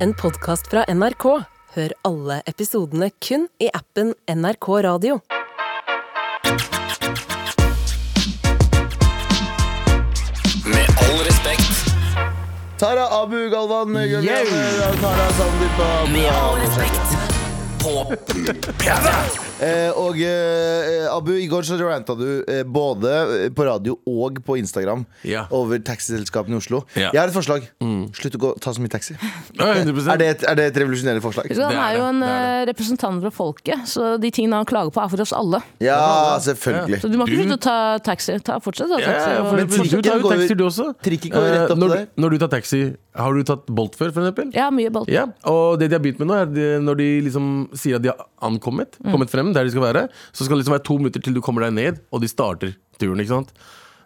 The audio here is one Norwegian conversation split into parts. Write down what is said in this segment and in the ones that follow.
en podkast fra NRK. Hør alle episodene kun i appen NRK Radio. Med all respekt. Tara Abu Galvan Gullgraver og Tara Sandeep Abu. Med all respekt. På P3. Eh, og eh, Abu, i går så ranta du eh, både på radio og på Instagram Ja. over taxiselskapene i Oslo. Ja. Mm. Jeg har et forslag. Slutt å gå, ta så mye taxi. Ja, 100%. Er det et, er det et revolusjonerende forslag? Så han Det er er jo det, en det er eh, representant fra folket, så de tingene han klager på, er for oss alle. Ja, selvfølgelig. Så du må ikke Du- slutte å ta taxi. Ta, fortsett å ta Ja, taxi. ja, for og- Men eksempel, du tar trikken jo går- taxi, du også. trikken går rett Eh, opp til når, du- deg. når du tar taxi, har du tatt Bolt før, for eksempel? ja, mye bolt. Ja, og det de har begynt med nå, er at når de liksom sier at de har ankommet, kommet frem der de skal være, så skal det liksom være to minutter til du kommer deg ned, og de starter turen, ikke sant?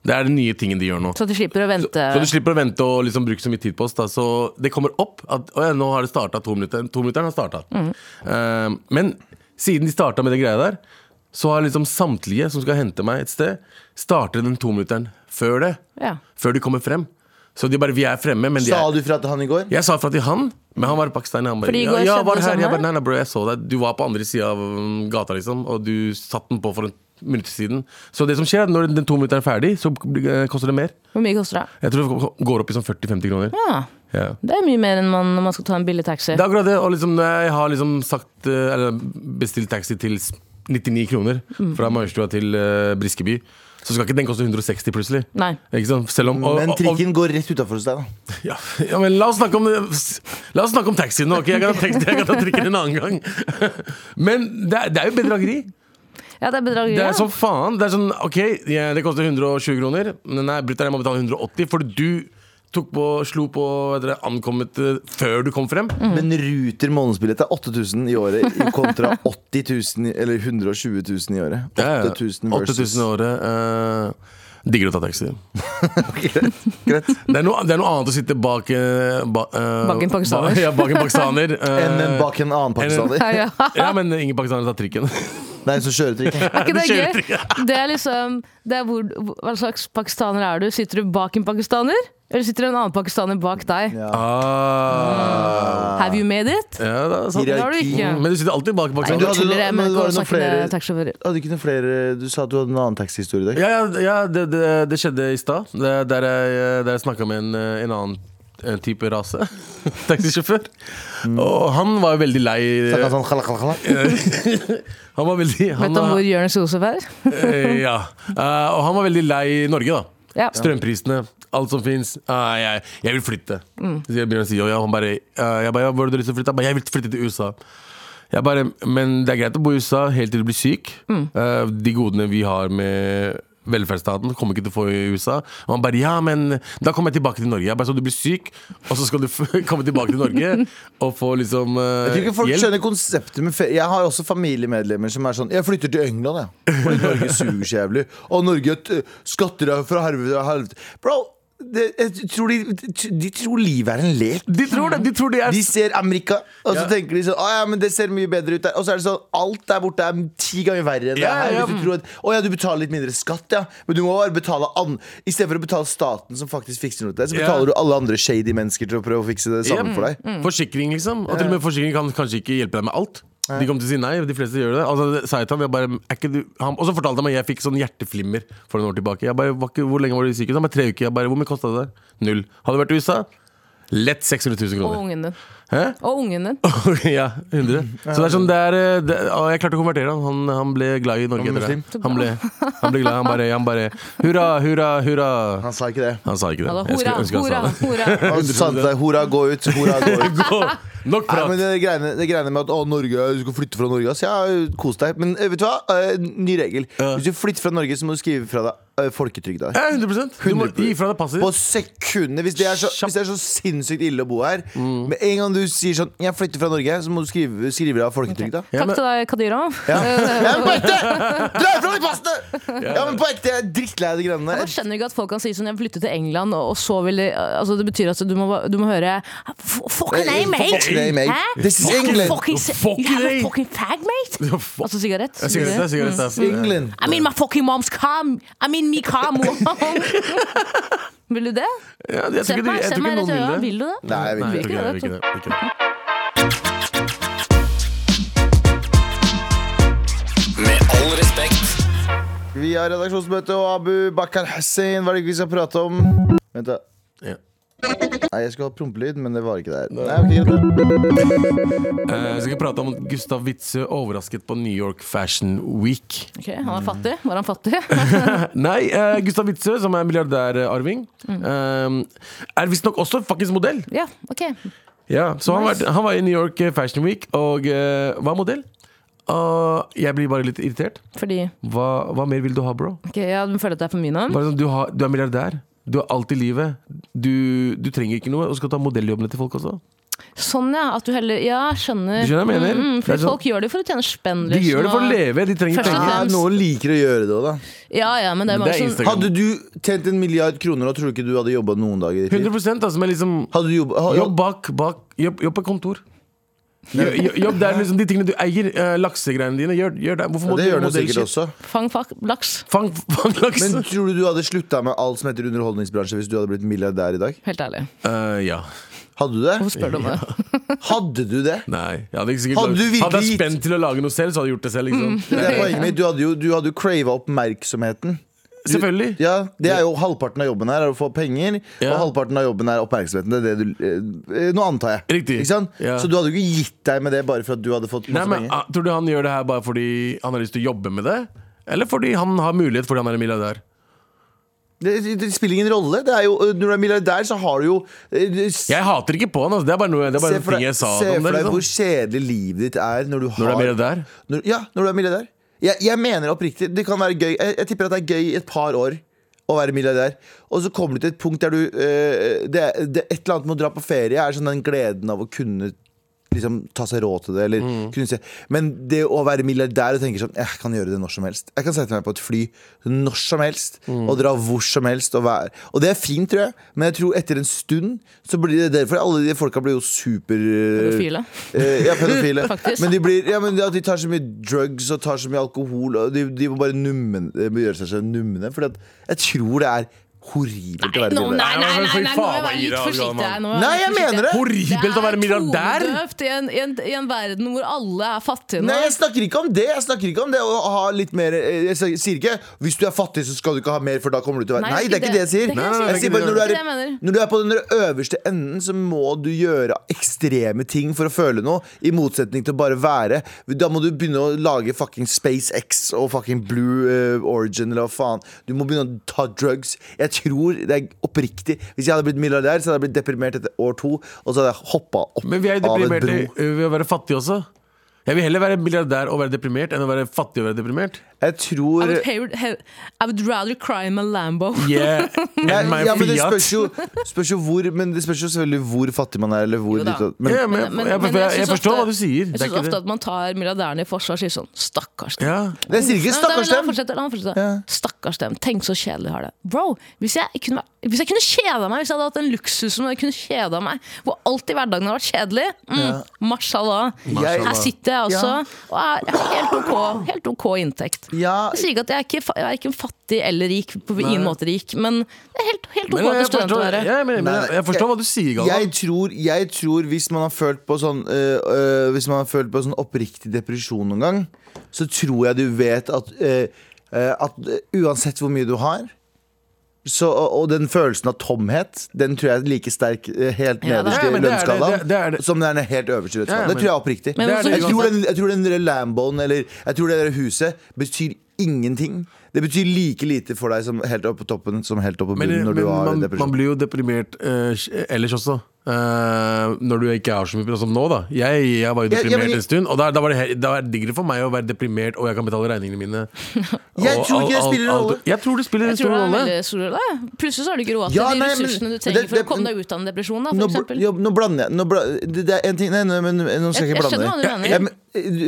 Det er den nye tingen de gjør nå. Så de slipper å vente. Så du slipper å vente og liksom bruke så mye tid på oss. Da. Så det kommer opp at å ja, nå har det starta to minutter. To minutter har starta. Mm. Eh, men siden de starta med det greia der, så har liksom samtlige som skal hente meg et sted, starter den tominutteren før det. Ja. Før de kommer frem. Så de bare Vi er fremme, men de Sa er du fra til han i går? jeg sa fra til han, men han var i Pakistan. Han bare, Fordi ja, i går ja, skjedde var det her. samme. Jeg bare, nei, nei, bro, jeg så deg. Du var på andre sida av mm, gata, liksom, og du satte den på for en minutt siden. Så det som skjer, er at når den to minutteren er ferdig, så eh, koster det mer. Hvor mye koster det? Jeg tror det går opp i sånn 40-50 kroner. Ja, Ja. det er mye mer enn man, når man skal ta en billig taxi. Det er akkurat det. Og liksom, når jeg har liksom sagt eh, Eller bestilt taxi til s- 99 kroner fra Majorstua til eh, Briskeby, så skal ikke den koste 160 plutselig. Nei. Ikke sant? Selv om, og, Men og- og, trikken går rett utafor hos deg, da. ja, ja, men la oss snakke om La oss snakke om taxien nå. ok? Jeg kan ta taxi, jeg kan ta trikken en annen gang. Men det er, det er jo bedrageri. Ja, det er bedrageri. Det ja. er som faen. Det er sånn, ok, ja, det koster 120 kroner. Men nei, brutter'n, jeg må betale 180, for du tok på, slo på hva heter det, ankommet eh, før du kom frem. Mm. Men Ruter månedsbillett er 8000 i året i- kontra 80 000, eller 120 000 i året. Ja, ja. 8000 versus 8000 i året. eh, digger å ta taxi. Greit. Det er, noe, det er noe annet å sitte bak eh, ba, eh, Bak en pakistaner. Ba, ja, bak en pakistaner. eh, Enn en bak en annen pakistaner. ja, ja. ja, men ingen pakistanere tar trikken. Det er en som kjører trikk. Ikke det Du er kjører gøy? Det er liksom det er hvor, Hva slags pakistaner er du? Sitter du bak en pakistaner? Eller sitter det en annen pakistaner bak deg? Ah. Have you made it? Ja, det er sant. Det har du ikke. Men du sitter alltid bak bak du Nei, nå sånn. hadde- tuller jeg med men var det noen gårdsnakkende flere- taxisjåfører. Hadde ikke noen flere Du sa at du hadde en annen taxihistorie i dag. Ja, ja, ja det, det, det skjedde i stad. Det- Der jeg, der jeg snakka med en, eh, en annen eh, type rase. Taxisjåfør. Og han var jo veldig lei Snakket eh, han sånn, kalla, kalla, kalla. Han var veldig han Vet du om var- hvor Jonis Josef er? eh, Ja. Eh, Og han var veldig lei Norge, da. Ja. Strømprisene, alt som fins. jeg, jeg vil flytte. Så jeg begynner å si og ja, han bare, eh, jeg bare ja, 'Hvor har du lyst til å flytte?' Han bare, 'Jeg vil flytte til USA'. Jeg bare, Men det er greit å bo i USA helt til du blir syk. Eh, de godene vi har med velferdsstaten, kommer ikke til å få i USA. Og han bare ja, men da kommer jeg tilbake til Norge. Jeg bare, Så du blir syk, og så skal du f komme tilbake til Norge og få liksom eh, Jeg tror ikke folk hjelp. skjønner konseptet med ferie. Jeg har også familiemedlemmer som er sånn Jeg flytter til England, jeg. Fordi Norge suger så jævlig. Og Norge t- skatter er fra helvete og helvete. Bro, det, jeg tror de, de tror livet er en lek. De tror det! De tror de er De ser Amerika, og så Ja. tenker de sånn Å ja, men det ser mye bedre ut der. Og så er det sånn alt der borte er ti ganger verre enn det Ja, her. ja. Hvis du tror at Å ja, du betaler litt mindre skatt, ja. Men du må bare betale an I stedet for å betale staten som faktisk fikser noe til deg, så Ja. betaler du alle andre shady mennesker til å prøve å fikse det samme Ja. for Mm, deg. Forsikring, liksom. Og til og med forsikring kan kanskje ikke hjelpe deg med alt. De kommer til å si nei. De fleste gjør det. Altså, sa jeg til ham, jeg bare, er ikke du, han, og så fortalte han meg jeg fikk sånn hjerteflimmer for noen år tilbake. Jeg bare, var ikke, hvor lenge var du i sykehus? Han bare tre uker. Jeg bare, hvor mye kosta det? Null. Hadde du vært i USA? Lett 600 000 Og kroner. ungen din. Hæ? Og ungen din. ja, 100. Så det er sånn, det er, eh, det, og jeg klarte å konvertere han. Han, han ble glad i Norge Han ble etter det. Han ble, han ble glad. Han bare, han bare hurra, hurra, hurra. Han sa ikke det. Han sa ikke Ja, da, det. Jeg skulle hurra, ønske hurra, han sa det. hurra. Og så sa han til deg hurra, gå ut. Hurra, gå ut. Nok Nei, prat. men det greiene, det greiene med at å, Norge, du skal flytte fra Norge ass. Ja, kos deg. Men eh, vet du hva? Eh, Ny regel. Ja. Hvis du flytter fra Norge, så må du skrive fra deg eh, folketrygd. der. Ja, 100 Du må gi fra deg passet. På sekundet. Hvis det er så, hvis det er så sinnssykt ille å bo her. Med en gang du sier sånn 'jeg flytter fra Norge', så må du skrive, skrive av folketrygda. Ja, Takk men- til deg, Kadira. Ja. ja, men på ekte! Dra fra de passene! Ja, men på ekte, jeg er drittlei av de greiene Jeg der. skjønner ikke at folk kan si sånn 'jeg vil flytte til England', og og så vil de altså, Det betyr at du må, du må høre "F- Fucking Eh, A, mate! fucking A, mate. Hæ? This is Fucking- England. fucking se- Fucking You have a A. fucking fag, mate! Ja, fuck. Altså sigarett. Ja, Sigarett, ja, sigarett, ja. England. I mean my fucking mom's calm! I mean me calm! Wow. Vil du det? Ja, jeg tror Se ikke, på de, meg, jeg se tror meg ikke rett i noen vil øya. det. Vil du det? Nei, jeg vet Nei, ikke. jeg tror ikke det, jeg tror ikke det, jeg tror ikke det. Vi har redaksjonsmøte, og Abu Bakar Hussein, hva er det vi skal prate om? Vent, da. Ja. Nei, jeg skulle hatt prompelyd, men det var ikke der. Nei, ok, greit. Eh, vi skal prate om at Gustav Witzøe overrasket på New York Fashion Week. Ok, Han er fattig. Var han fattig? Nei, eh, Gustav Witzøe, som er milliardærarving, eh, er visstnok også faktisk modell. ja, ok. Ja, så han, Nice. var, han var i New York eh, Fashion Week og eh, var modell. Og jeg blir bare litt irritert. Fordi Hva, hva mer vil du ha, bro? ok, Jeg føler at det er for mye navn. Bare sånn, du, har, du er milliardær. Du har alt i livet. Du, du trenger ikke noe. Og så skal du ta modelljobbene til folk også. Sånn, ja. At du heller Ja, skjønner. Du skjønner hva jeg mener? Mm, Det mm, er fordi sånn- folk gjør det for å tjene spenn. liksom, De gjør det for å leve. De trenger Først og penger. Ja, fremst. noen liker å gjøre det òg, da. Ja, ja, men det er Men sånn mange det er som Instagram. Hadde du tjent en milliard kroner, og tror du ikke du hadde jobba noen dag i ditt liv? 100 altså, men liksom Hadde du jobba ha, Jobb bak, bak Jobb, jobb på kontor. Jo- jo- Jobb der liksom de tingene du eier. eh, laksegreiene dine. Gjør, gjør det. Hvorfor ja, må Det du gjør du modellshit? sikkert også. Fang fak, laks. Fang, fang laks. Men tror du du hadde slutta med alt som heter underholdningsbransje hvis du hadde blitt milliardær i dag? Helt ærlig. Eh, ja. Hadde du det? Hvorfor spør du om det? Hadde du det? Nei. Jeg hadde, ikke sikkert Hadde du lag- hadde jeg virkelig gitt- spent til å lage noe selv, så hadde jeg gjort det selv. Liksom. Det er poenget mitt. Du hadde jo, du hadde jo crava oppmerksomheten. Selvfølgelig. Ja, det er jo Halvparten av jobben her er å få penger, Ja. og halvparten av jobben er oppmerksomheten. Det er det du, eh, nå antar jeg. Riktig. Ikke sant? Ja. Så du hadde jo ikke gitt deg med det bare for at du hadde fått Nei, masse men, penger. ah, tror du han gjør det her bare fordi han har lyst til å jobbe med det? Eller fordi han har mulighet fordi han er en milliardær? Det, det spiller ingen rolle. Det er jo, eh, når du er milliardær, så har du jo eh, du- Jeg hater ikke på han. Altså. Det er bare noe det er bare Se en for ting deg, jeg sa se om for det. deg hvor Liksom. kjedelig livet ditt er når du har Når du er milliardær. Når, ja, når du er milliardær. Jeg, jeg mener oppriktig, det kan være gøy jeg, jeg tipper at det er gøy i et par år å være milliardær. Og så kommer du til et punkt der du eh, det, det, Et eller annet med å dra på ferie er sånn den gleden av å kunne Liksom ta seg råd til det. Eller kunne se. Men det å være milliardær og tenke sånn Jeg kan gjøre det når som helst. Jeg kan sette meg på et fly når som helst og dra hvor som helst. Og, være. og det er fint, tror jeg, men jeg tror etter en stund så blir det derfor alle de folka blir jo super Pedofile. Eh, ja, pedofile. Faktisk. men de, blir, ja, men ja, de tar så mye drugs og tar så mye alkohol. Og de, de må bare nummen, eh, gjøre seg så numne. For jeg tror det er horribelt å Nei, være nå, nei, milliardær. nei, nei, nei, nå må jeg Faen, altså, være litt Ira, forsiktig her. nå må Nei, være jeg litt forsiktig. mener det! Horribelt å være milliardær! Det er todøvt i en, i, en, i en verden hvor alle er fattige nå. Nei, jeg snakker ikke om det! Jeg snakker ikke om det å ha litt mer eh, Jeg sier- sier ikke hvis du er fattig, så skal du ikke ha mer, for da kommer du til å være Nei, Nei, det er ikke det jeg sier. det er ikke det jeg Jeg sier. sier bare når du er, Det er ikke det jeg mener. når du er på den øverste enden, så må du gjøre ekstreme ting for å føle noe, i motsetning til å bare være. Da må du begynne å lage fucking SpaceX og fucking Blue eh, Origin eller hva faen. Du må begynne å ta drugs. Jeg tror det er oppriktig. Hvis jeg hadde blitt milliardær, så hadde jeg blitt deprimert etter år to, og så hadde jeg hoppa opp Men vi er jo av en deprimerte bro. eh, ved å være fattige også. Jeg vil heller være milliardær og være deprimert enn å være fattig og være deprimert. Jeg I tror would, hav- hav- I would rather cry in a Lambo. Yeah, Ja, enn meg Eh, ja, men det fiat. spørs jo, spørs jo hvor Men det spørs jo selvfølgelig hvor fattig man er. Eller hvor Jo da. lite- men, Ja, men, jeg- Men- jeg, men jeg, jeg, synes forstår ofte- hva du sier. Jeg Det er syns ikke ofte det. at man tar milliardærene i forsvar og sier sånn Stakkars dem. Ja. jeg sier ikke Nei, stakkars da- dem! La meg fortsette, la meg fortsette. Stakkars dem. Tenk så kjedelig de har det. Bro, hvis jeg, kunne, vært- hvis jeg kunne kjeda meg, hvis jeg hadde hatt en luksus som jeg kunne kjeda meg, hvor alt i hverdagen har vært kjedelig mm, Mashallah. Mashallah. Her sitter jeg altså og er, jeg har helt ok, helt ok inntekt. Ja, Jeg sier ikke at jeg er, ikke, fa- jeg er ikke fattig eller rik, på ingen måte rik, men det er helt, helt ok Men jeg til student å forstår, være. ja, men, men, Nei, jeg- jeg forstår hva du sier, jeg Galvan. tror, jeg tror hvis man har følt på sånn øh, øh, Hvis man har følt på sånn oppriktig depresjon noen gang, så tror jeg du vet at, øh, øh, at uansett hvor mye du har så, og, og den følelsen av tomhet, den tror jeg er like sterk øh, helt Ja, nederst i ja, men det er det, lønnsskalaen det- det er det. som den er helt øverst i lønnsskalaen. det Ja, men- tror jeg er oppriktig. Men Det er også- det, Jeg tror, den, jeg tror den der Lamboen eller jeg tror det der huset betyr ingenting. Det betyr like lite for deg som helt oppe på toppen som helt oppe på Men, bunnen når men du har man, man depresjon. blir jo deprimert eh, ellers også. Eh, når du ikke har så mye som nå, da. Jeg, jeg var Ja, jo ja, deprimert men jeg- en stund, og da, da var det, he- da er det diggere for meg å være deprimert, og jeg kan betale regningene mine. Jeg Og tror ikke alt- det alt- spiller en alt- rolle. Jeg tror det spiller en Jeg tror stor det er rolle. veldig stor rolle. Plutselig så har du ikke råd til Ja, nei, de men- ressursene du det- trenger for det- å komme deg ut av en depresjon. Da, for Nå, eksempel. bl- jo, nå blander jeg nå bla, det, det er en ting, Nei, nei, men nå skal jeg ikke Jeg- jeg blande skjønner hva du Jeg- men,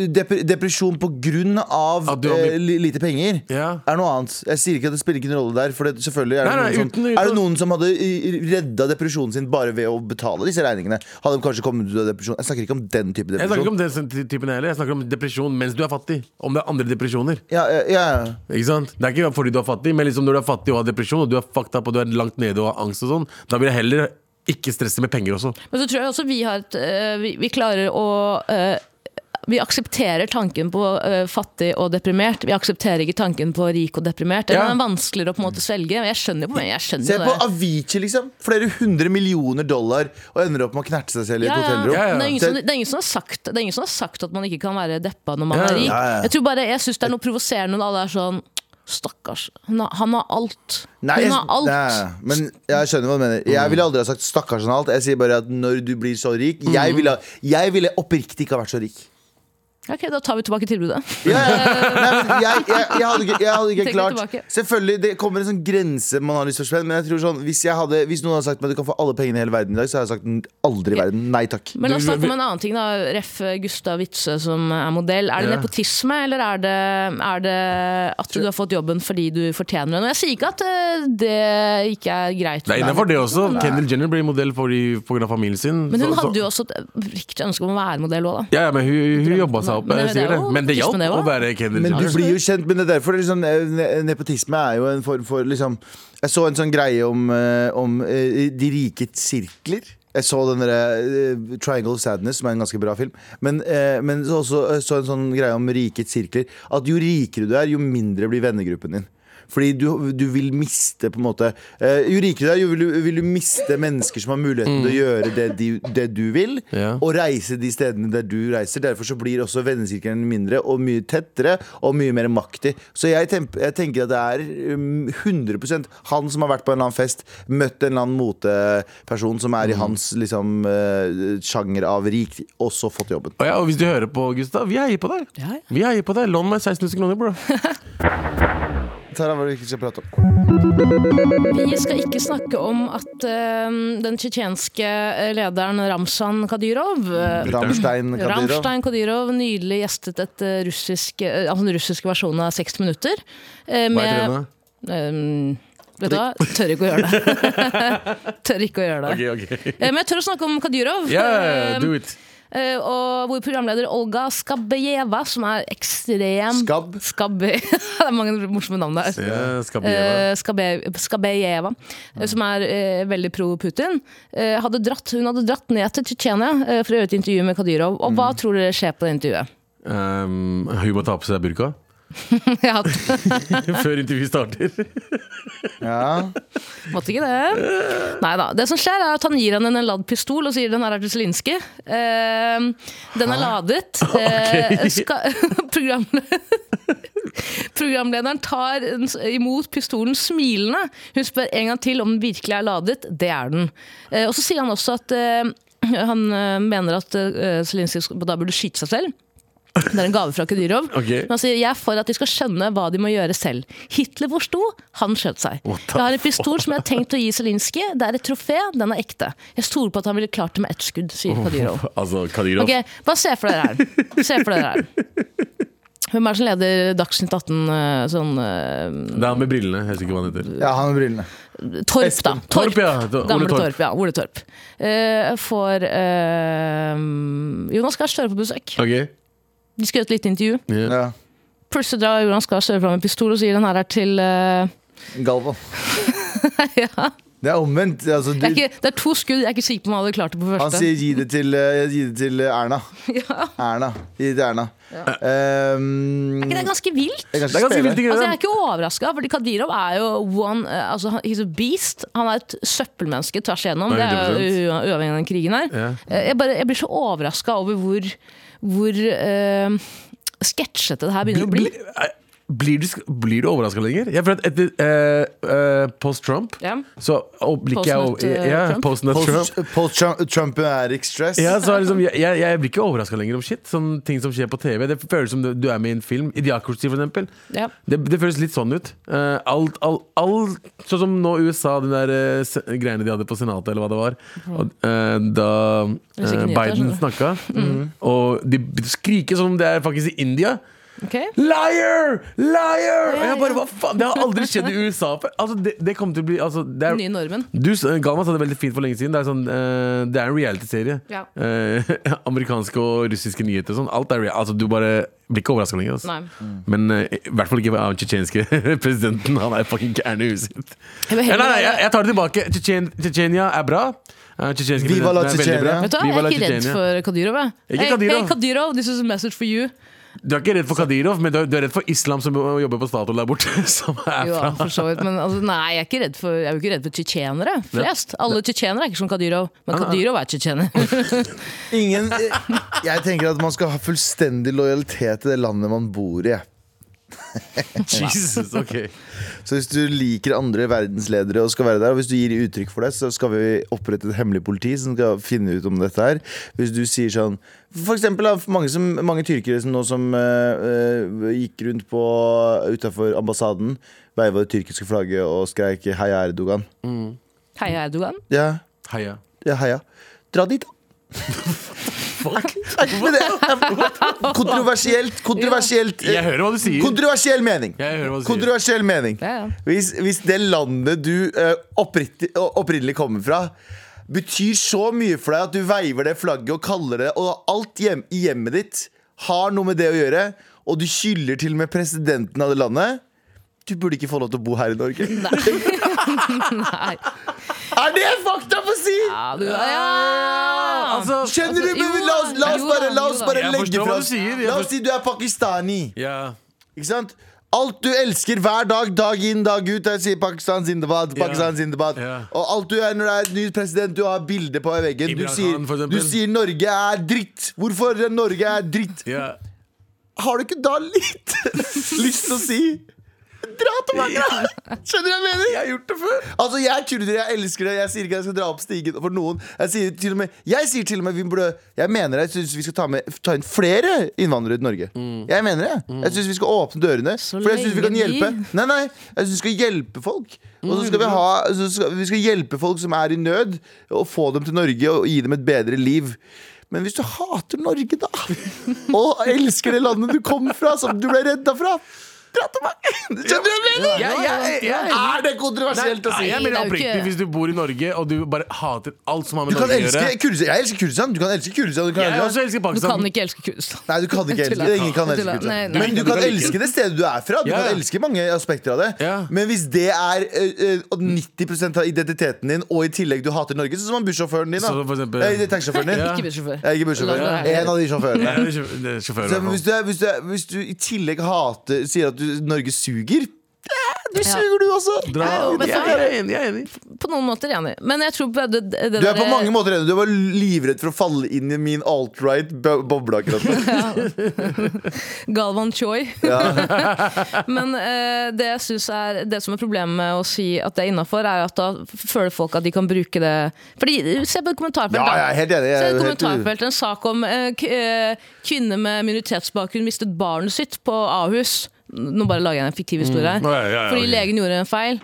dep- Depresjon på grunn av At du har blitt- eh, li- lite penger Ja. er noe annet. Jeg sier ikke at det spiller ikke en rolle der. For det, selvfølgelig er det, Nei, nei, noen som, uten- uten- er det noen som hadde i- redda depresjonen sin bare ved å betale disse regningene. Hadde de kanskje kommet ut av depresjon Jeg snakker ikke om den type Jeg snakker ikke depresjon. om den sånn ty- typen heller. Jeg snakker om depresjon mens du er fattig. Om det er andre depresjoner. Ja, ja, ja. Ikke sant? Det er ikke fordi du er fattig, men liksom når du er fattig og har depresjon, og du er fucked up og du er langt nede og har angst og sånn, da vil jeg heller ikke stresse med penger også. eh, Men så tror jeg også vi har et øh, vi, vi klarer å øh, Vi aksepterer tanken på eh, fattig og deprimert. Vi aksepterer ikke tanken på rik og deprimert. Ja. Den er vanskeligere å på en måte svelge. Jeg skjønner jo på meg, jeg skjønner Se jo på det. Avicii, liksom. Flere hundre millioner dollar, og ender opp med å knerte seg selv i et Ja, hotellrom. ja. ja. Men Det, er ingen som, Det- det, er ingen som har sagt, det er ingen som har sagt at man ikke kan være deppa når man Ja, er rik. ja, ja. Jeg tror bare, jeg syns det er noe provoserende når alle er sånn Stakkars. Han har, han har alt. Nei, Hun har alt. Nei, men jeg skjønner hva du mener. Jeg ville aldri ha sagt 'stakkars han alt'. Jeg sier bare at når du blir så rik Mm. Jeg ville, jeg ville oppriktig ikke ha vært så rik. Ok, da tar vi tilbake tilbudet. Ja, ja. Nei, men jeg, jeg, jeg hadde ikke, jeg hadde ikke Tenk litt klart tilbake. Selvfølgelig, Det kommer en sånn grense man har lyst til å spenne, men jeg tror sånn hvis, jeg hadde, hvis noen hadde sagt meg du kan få alle pengene i hele verden i dag, så hadde jeg sagt "N- aldri i verden. Nei takk. Men la oss Du- snakke om en annen ting, da. Ref. Gustav Witzøe som er modell. Er det Ja. nepotisme, eller er det, er det at du har fått jobben fordi du fortjener den? Og jeg sier ikke at eh, det ikke er greit. Det er innenfor det også. Kendall Jenner ble modell pga. familien sin. Men hun så- så- hadde jo også et riktig ønske om å være modell òg, da. ja, ja, men hun, hun jobba seg opp. Men, Men det er det, det. jo men det hjalp nepotisme, det å også. være Kendall Men du Jenner. blir jo kjent, men det er derfor liksom, eh, ne- Nepotisme er jo en form for liksom, Jeg så en sånn greie om, eh, om eh, de rike sirkler. Jeg så den derre eh, Triangle of Sadness, som er en ganske bra film. Men, eh, men så også eh, så en sånn greie om rikets sirkler. At jo rikere du er, jo mindre blir vennegruppen din. Fordi du, du vil miste på en måte eh, Jo rikere du er, jo vil du, vil du miste mennesker som har muligheten til å gjøre det, de, det du vil, Ja. og reise de stedene der du reiser. Derfor så blir også vennesirkelen mindre og mye tettere og mye mer maktig. Så jeg, temp- jeg tenker at det er um, 100 han som har vært på en eller annen fest, møtt en eller annen moteperson som er i hans liksom, eh, sjanger av rik, og så fått jobben. Og, ja, og hvis du hører på, Gustav, vi heier på deg. Ja, ja. Vi heier på deg. Lån meg 16 000 kroner, bro. Tara, hva er det vi ikke skal prate om? Vi skal ikke snakke om at eh, den tsjetsjenske eh, lederen Ramzan Kadyrov eh, Rammstein Kadyrov. Rammstein Kadyrov nylig gjestet et eh, russisk, eh, altså den russiske versjonen av 60 minutter. eh, Hva heter den, da? Ehm, Vet du hva, tør ikke å gjøre det. tør ikke å gjøre det. Ok, ok. Eh, Men jeg tør å snakke om Kadyrov. Yeah, ehm, do it. eh, og hvor programleder Olga Skabbejeva, som er ekstrem Skabb. Skabbe... det er mange morsomme navn der. Ja, skal bli det. Eh, Skabe, Skabejeva, eh, som er eh, veldig pro Putin, eh, hadde dratt, hun hadde dratt ned til Tsjetsjenia eh, for å gjøre et intervju med Kadyrov. Og hva tror dere skjer på det intervjuet? Um, hun må ta på seg burka Jeg hadde- før intervjuet starter. Ja. måtte ikke det. Neida, Det som skjer, er at han gir henne en ladd pistol og sier den her er til Zelinskyj. Eh, den er ladet. Eh, ska, programle- Programlederen tar en s- imot pistolen smilende. Hun spør en gang til om den virkelig er ladet. Det er den. Eh, og så sier han også at eh, han eh, mener at eh, Zelinskyj sk- da burde skyte seg selv. Det er en gave fra Kadyrov. Ok. Men han sier Altså, jeg er for at de skal skjønne hva de må gjøre selv. Hitler forsto, han skjøt seg. Jeg har en pistol som jeg har tenkt å gi Zelinskyj. Det er et trofé, den er ekte. Jeg stoler på at han ville klart det med ett skudd, sier Kadyrov. Altså, Kadyrov. Ok, Bare se for dere her. Se for dere her. Hvem er det som leder Dagsnytt 18 eh, sånn eh, Det er han med brillene. Jeg husker ikke hva han heter. ja, han med brillene. Torp, da. Espen. Torp. Torp, ja. Da- Ole Gamle Torp. Torp. ja. Ole Torp. Eh, får eh, Jonas Gahr Støre på besøk. Ok, De skal gjøre et lite intervju. yeah. Ja. Plutselig drar Jonas Gahr Støre fram en pistol og sier den her er til eh, Galvan. Det er omvendt. Altså, du, det, er ikke, det er to skudd, jeg er ikke sikker på om han hadde klart det på han første. sier 'gi det til, eh, gi det til Erna'. Ja. Erna. Gi det til Erna. Ehm, Det er ganske vilt. jeg kan ikke Det er ganske spille. vilt. Altså, jeg ikke er det? ikke overraska, fordi Kadyrov er jo one eh, altså, han- He's a beast. Han er et søppelmenneske tvers igjennom. Det er jo u- uavhengig av den krigen her. Ja. Eh, Jeg, bare, jeg blir så overraska over hvor, hvor eh, sketsjete det her begynner å bli. Bli- eh, Blir du, sk- blir du overraska lenger? Jeg føler at etter eh, eh, post Trump Ja. Så oh, blir ikke jeg Post-nut, eh, over- ja, Trump. post-nut Trump. Post, post Trump, Trump er ikke stress. Ja, så er det liksom, jeg, jeg, jeg blir ikke overraska lenger om shit. Sånn ting som skjer på TV. Det føles som du, du er med i en film. Idiocracy, for eksempel. Ja. Det, det føles litt sånn ut. Eh, alt, alt, alt, sånn som nå USA, de der eh, se- greiene de hadde på Senatet, eller hva det var. Og, eh, da Mhm. er eh, sikkert Biden nyheter, Mm. skjønner Mhm. snakka, og de begynte å skrike som om det er faktisk i India. Ok? Liar! Liar! Og jeg bare, hva faen? Det har aldri skjedd i USA før. Altså, det, det kommer til å bli altså, det er, Den nye normen. Du, s- Galvan sa det veldig fint for lenge siden. Det er, sånn, eh, det er en reality-serie. Ja. Eh, amerikanske og russiske nyheter og sånn. Alt er real. Altså, du bare blir ikke overraska lenger. Altså. Nei. Men eh, i hvert fall ikke av den tsjetsjenske presidenten. Han er fucking gæren i huset sitt. Jeg vil Ja, nei, heller nei, jeg, være- jeg tar det tilbake. Tsjetsjen- Tsjetsjenia er bra. Eh, tsjetsjenske Viva la presidenten er veldig bra. Tsjetsjenia. Vet du hva, Jeg Viva er la ikke redd Tsjetsjenia. for Kadyrov. Jeg. Ikke Hey, Kadyrov. hey, Kadyrov, this is a message for you. Du er ikke redd for Kadyrov, men du er, du er redd for islam som jobber på Statoil der borte. Som er Jo, fra. for så vidt. Men altså, nei, jeg er ikke redd for, jeg er jo ikke redd for tsjetsjenere flest. Alle tsjetsjenere er ikke som Kadyrov, Ah. men Kadyrov er tsjetsjener. Ingen Jeg tenker at man skal ha fullstendig lojalitet til det landet man bor i. Jesus, ok Så hvis du liker andre verdensledere og skal være der, og hvis du gir uttrykk for det, så skal vi opprette et hemmelig politi som skal finne ut om dette her. Hvis du sier sånn For eksempel da, mange, som, mange tyrkere som nå som eh, eh, gikk rundt på utafor ambassaden, veiva det tyrkiske flagget og skreik 'Heia Erdogan'. Heia Erdogan. Ja, Heia. ja heia. Dra dit, da. Fuck. Men det er kontroversielt. Kontroversielt. Jeg hører hva du sier. Kontroversiell mening. Jeg hører hva du sier. Kontroversiell mening. Ja, ja. Hvis, hvis det landet du eh, oppritti- å- opprinnelig kommer fra, betyr så mye for deg at du veiver det flagget og kaller det Og alt hjem, i hjemmet ditt har noe med det å gjøre, og du hyller til og med presidenten av det landet Du burde ikke få lov til å bo her i Norge. Nei. Er det fakta på si?! Ja, du, ja. Altså, Skjønner du? Altså, Men jo la oss, la da, oss jo bare, da, la jo oss da. bare Jeg legge forstår fra hva du oss sier, jeg La oss si du er pakistani. ja. Ikke sant? Alt du elsker hver dag, dag inn, dag ut. Jeg sier Pakistan Zindabad, Pakistan Zindabad. Ja. Og alt du er når det er ny president, du har bilde på veggen. Du Imran sier, Khan, for eksempel. du sier Norge er dritt. Hvorfor er Norge er dritt? Ja. Har du ikke da litt lyst til å si Dra tilbake! da? Skjønner du hva jeg mener? Jeg har gjort det før. Altså, jeg tuller, jeg elsker det. Jeg sier ikke at jeg skal dra opp stigen for noen. Jeg sier til og med, jeg sier til og med vi burde, Jeg mener jeg syns vi skal ta, med, ta inn flere innvandrere til Norge. Mm. Jeg mener det. Jeg syns vi skal åpne dørene. Så for jeg syns vi kan lenge de- hjelpe. Nei, nei, jeg syns vi skal hjelpe folk. Og så skal vi, ha, så skal, vi skal hjelpe folk som er i nød, og få dem til Norge og gi dem et bedre liv. Men hvis du hater Norge, da, og elsker det landet du kom fra, som du ble redda fra Dra tilbake! Skjønner du hva jeg mener? Ja, ja, ja, ja. Er det kontroversielt å si? Nei, jeg Det mener er jo oppriktig ikke- hvis du bor i Norge og du bare hater alt som har med Du kan Norge å elske gjøre. Kurdistan. Jeg elsker Kurdistan. Du kan elske Kurdistan. Du kan Jeg elske- også elsker Du kan Pakistan. ikke elske Kurdistan. Sånn. Nei, du kan ikke elske Tulla. Ingen kan elske Tulla. Kurdistan. Nei, nei. Men du kan elske det stedet du er fra. Du Ja, ja. kan elske mange aspekter av det. Ja. Men hvis det er eh, ø, ø, 90 av identiteten din, og i tillegg du hater Norge, sånn som han bussjåføren din, da. Så for eksempel- Eh, Taxisjåføren din. Ja. Ikke bussjåfør. Jeg er ikke bussjåfør. La det være. En av de sjåførene. Jeg er sjå- det er Sjåfør, i Så, men hvert fall. hvis, du er, hvis, du er, hvis du i tillegg hater Sier at du, Norge suger eh, Du suger, du også! Dra- jo, men Jeg er enig. Jeg er enig. På noen måter, enig. Men jeg tror på det, det Du er på der- mange måter enig. Du var livredd for å falle inn i min alt-right bo- boble akkurat nå. Galvan Choi. Men eh, det jeg synes er Det som er problemet med å si at det er innafor, er at da føler folk at de kan bruke det Fordi, Se på et kommentarfelt, Ja, da. jeg er helt enig. Jeg Se er et helt kommentarfelt, En sak om eh, k- eh, kvinne med minoritetsbakgrunn mistet barnet sitt på Ahus. Nå bare lager jeg en fiktiv historie Mm. her. Ja, ja, ja, Fordi ok. legen gjorde en feil.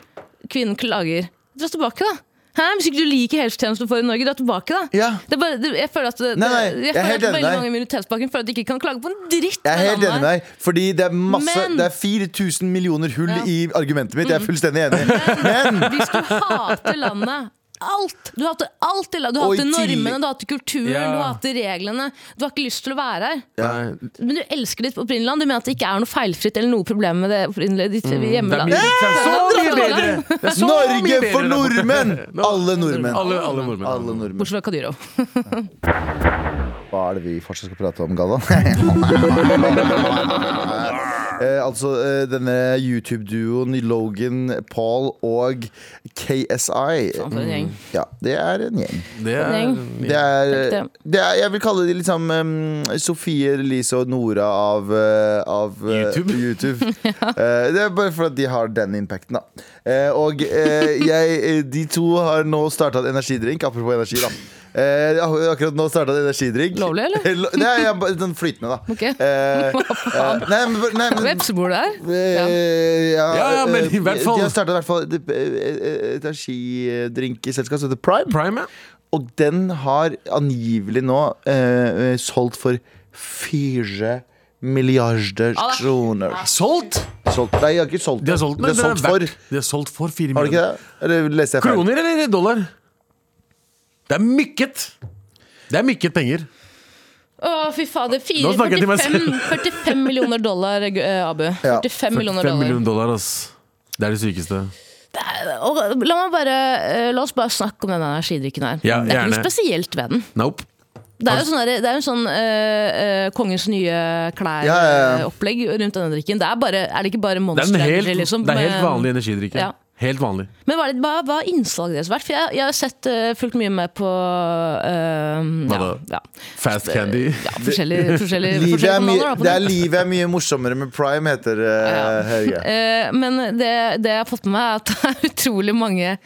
Kvinnen klager. Dra tilbake, da. Hæ? Hvis ikke du liker helsetjenesten du får i Norge, dra tilbake, da. Ja. Det er bare, det, jeg føler at, det, Nei, nei, jeg jeg er føler helt at enig veldig der. mange med minoritetsbakgrunn føler at de ikke kan klage på en dritt. Jeg er helt med enig med landet. deg. Fordi det er masse Men- Det er 4000 millioner hull Ja. i argumentet mitt. Jeg er fullstendig enig. Men Hvis du hater landet Alt! Du hater alt i landet. Du Og i hater tillegg- normene, du hater kulturen, Ja. du hater reglene. Du har ikke lyst til å være her. Nei. Men du elsker ditt opprinnelige land. Du mener at det ikke er noe feilfritt eller noe problem med det opprinnelige ditt Mm. Det er hjemmeland. mye- det er så mye bedre! Det er så mye Norge bedre for der borte. nordmenn! Alle nordmenn. Alle, alle nordmenn. Alle nordmenn. Bortsett fra Kadyrov. Hva er det vi fortsatt skal prate om, Galvan? eh, altså eh, denne YouTube-duoen Logan Paul og KSI. Faen, for en gjeng. Ja, det er en gjeng. Det er, Det er, Takk, det er Jeg vil kalle de liksom em, Sofie, Elise og Nora av, eh, av eh, YouTube. YouTube. Eh, det er bare for at de har den impacten, da. Eh, og eh, jeg, eh, de to har nå starta en energidrink. Apropos energi, da. Eh, ak- akkurat nå starta en energidrink. Eh, Lovlig, eller? Lo- Nei, jeg, bare- sånn flytende, da. Ok. Eh, eh, nei, men, nei, men Vepsebol der. Ja. Eh, ja, Ja, ja, men i eh, hvert fall- De har starta i hvert fall et, et energidrinkselskap som heter Prime. Prime, ja. Og den har angivelig nå eh, eh, solgt for 4 milliarder da. kroner. Solgt! Solgt. Nei, jeg har ikke solgt. De har solgt den. det er den solgt er for. verdt- De har solgt for fire Har du ikke millioner. det? Eller leste jeg feil? Kroner eller dollar? Det er mykket. Det er mykket penger. Å, fy fader. Fire, Nå snakker jeg til meg 45, 45 millioner dollar, eh, Abu. 45 millioner 45 dollar. millioner dollar, ass. Det er det sykeste. Og la, meg bare, eh, la oss bare snakke om den energidrikken her. Ja, det er ikke gjerne. noe spesielt ved den. Nope. Det er jo sånn, der- det er jo en sånn eh, eh, kongens nye Ja, ja, ja. klær-opplegg rundt denne drikken. Det er, bare, er det ikke bare Det er, monster en helt, Energy, liksom? det er helt Men- vanlig energidrikke. Ja. Helt vanlig. Men hva er det- hva hva har innslaget deres vært? For jeg, jeg har sett eh, fulgt mye med på eh, ja, Hva ja, Fast candy. ja, forskjellige, forskjellige, Livet forskjellige er, mye- kanaler. Da, på det er nett. livet er mye morsommere med Prime, heter Ja. uh, Helge. Eh, Men det, det jeg har fått med meg, er at det er utrolig mange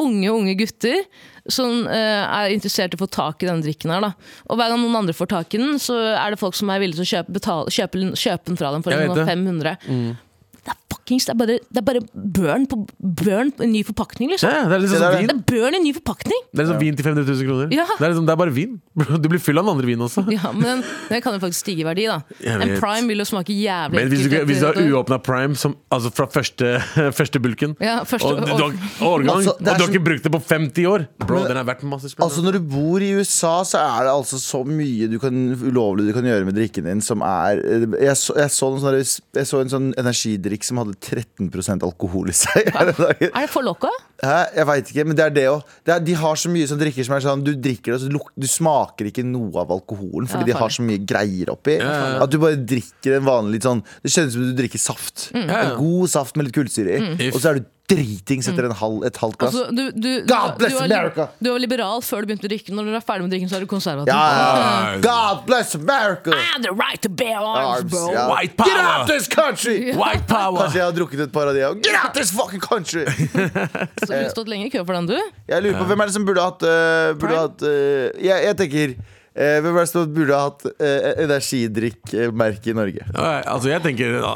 unge unge gutter som eh, er interessert i å få tak i denne drikken. her da. Og hver gang noen andre får tak i den, så er det folk som er villige til å kjøpe, betale, kjøpe, den- kjøpe den fra dem for Jeg vet noen det. Mm. 500. Det er fuckings, det er bare, det er bare burn, på, burn på en ny forpakning, Ja, liksom. ja, det er Det litt sånn der er- vin. Det er burn i en ny forpakning! Det er liksom vin til 500 000 kroner. Ja. Det, er liksom, det er bare vin. Du blir full av den andre vinen også. Ja, men den, den kan jo faktisk stige i verdi, da. Jeg En vet. prime vil jo smake jævlig Men hvis du, ekkelt hvis du etter har et år. uåpna prime som, altså fra første, første bulken, Ja, første og du, du har, årgang, Altså, det er og du så- har ikke brukt det på 50 år Bro, Men- den er verdt masse spenn. Altså Når du bor i USA, så er det altså så mye du kan, ulovlig du kan gjøre med drikken din som er eh, Jeg så, jeg så, en, sånn, jeg så en sånn energidrikk som hadde 13 alkohol i seg. her om dagen. Er det for loco? Hæ? Jeg veit ikke, men det er det òg. Det er- De har så mye som drikker som er sånn Du drikker det, og så luk, du smaker ikke noe av alkoholen fordi Ja, de har farlig. så mye greier oppi. Ja, ja. At du bare drikker en vanlig sånn Det kjennes som du drikker saft. Mm. Ja, ja. En god saft med litt kullsyre i. If. Og så er du dritings etter en halv, et halvt glass. Altså, du, du, du, God bless du var- America! Du var liberal før du begynte å drikke. Når du er ferdig med drikken, så er du konservativ. ja, ja, ja. Ja. God bless America! I have the right to bear arms, Arms, bro. ja. White power! Get out this country! White power! Kanskje jeg har drukket et par av de òg. Get out this fucking country! Så eh, du har stått lenge i kø for den, du? Jeg lurer på hvem er det som burde hatt, øh, burde Prime? hatt øh, jeg, jeg tenker øh, Hvem er det som burde hatt uh, energidrikkmerke i Norge? Ja, Altså, jeg tenker ja.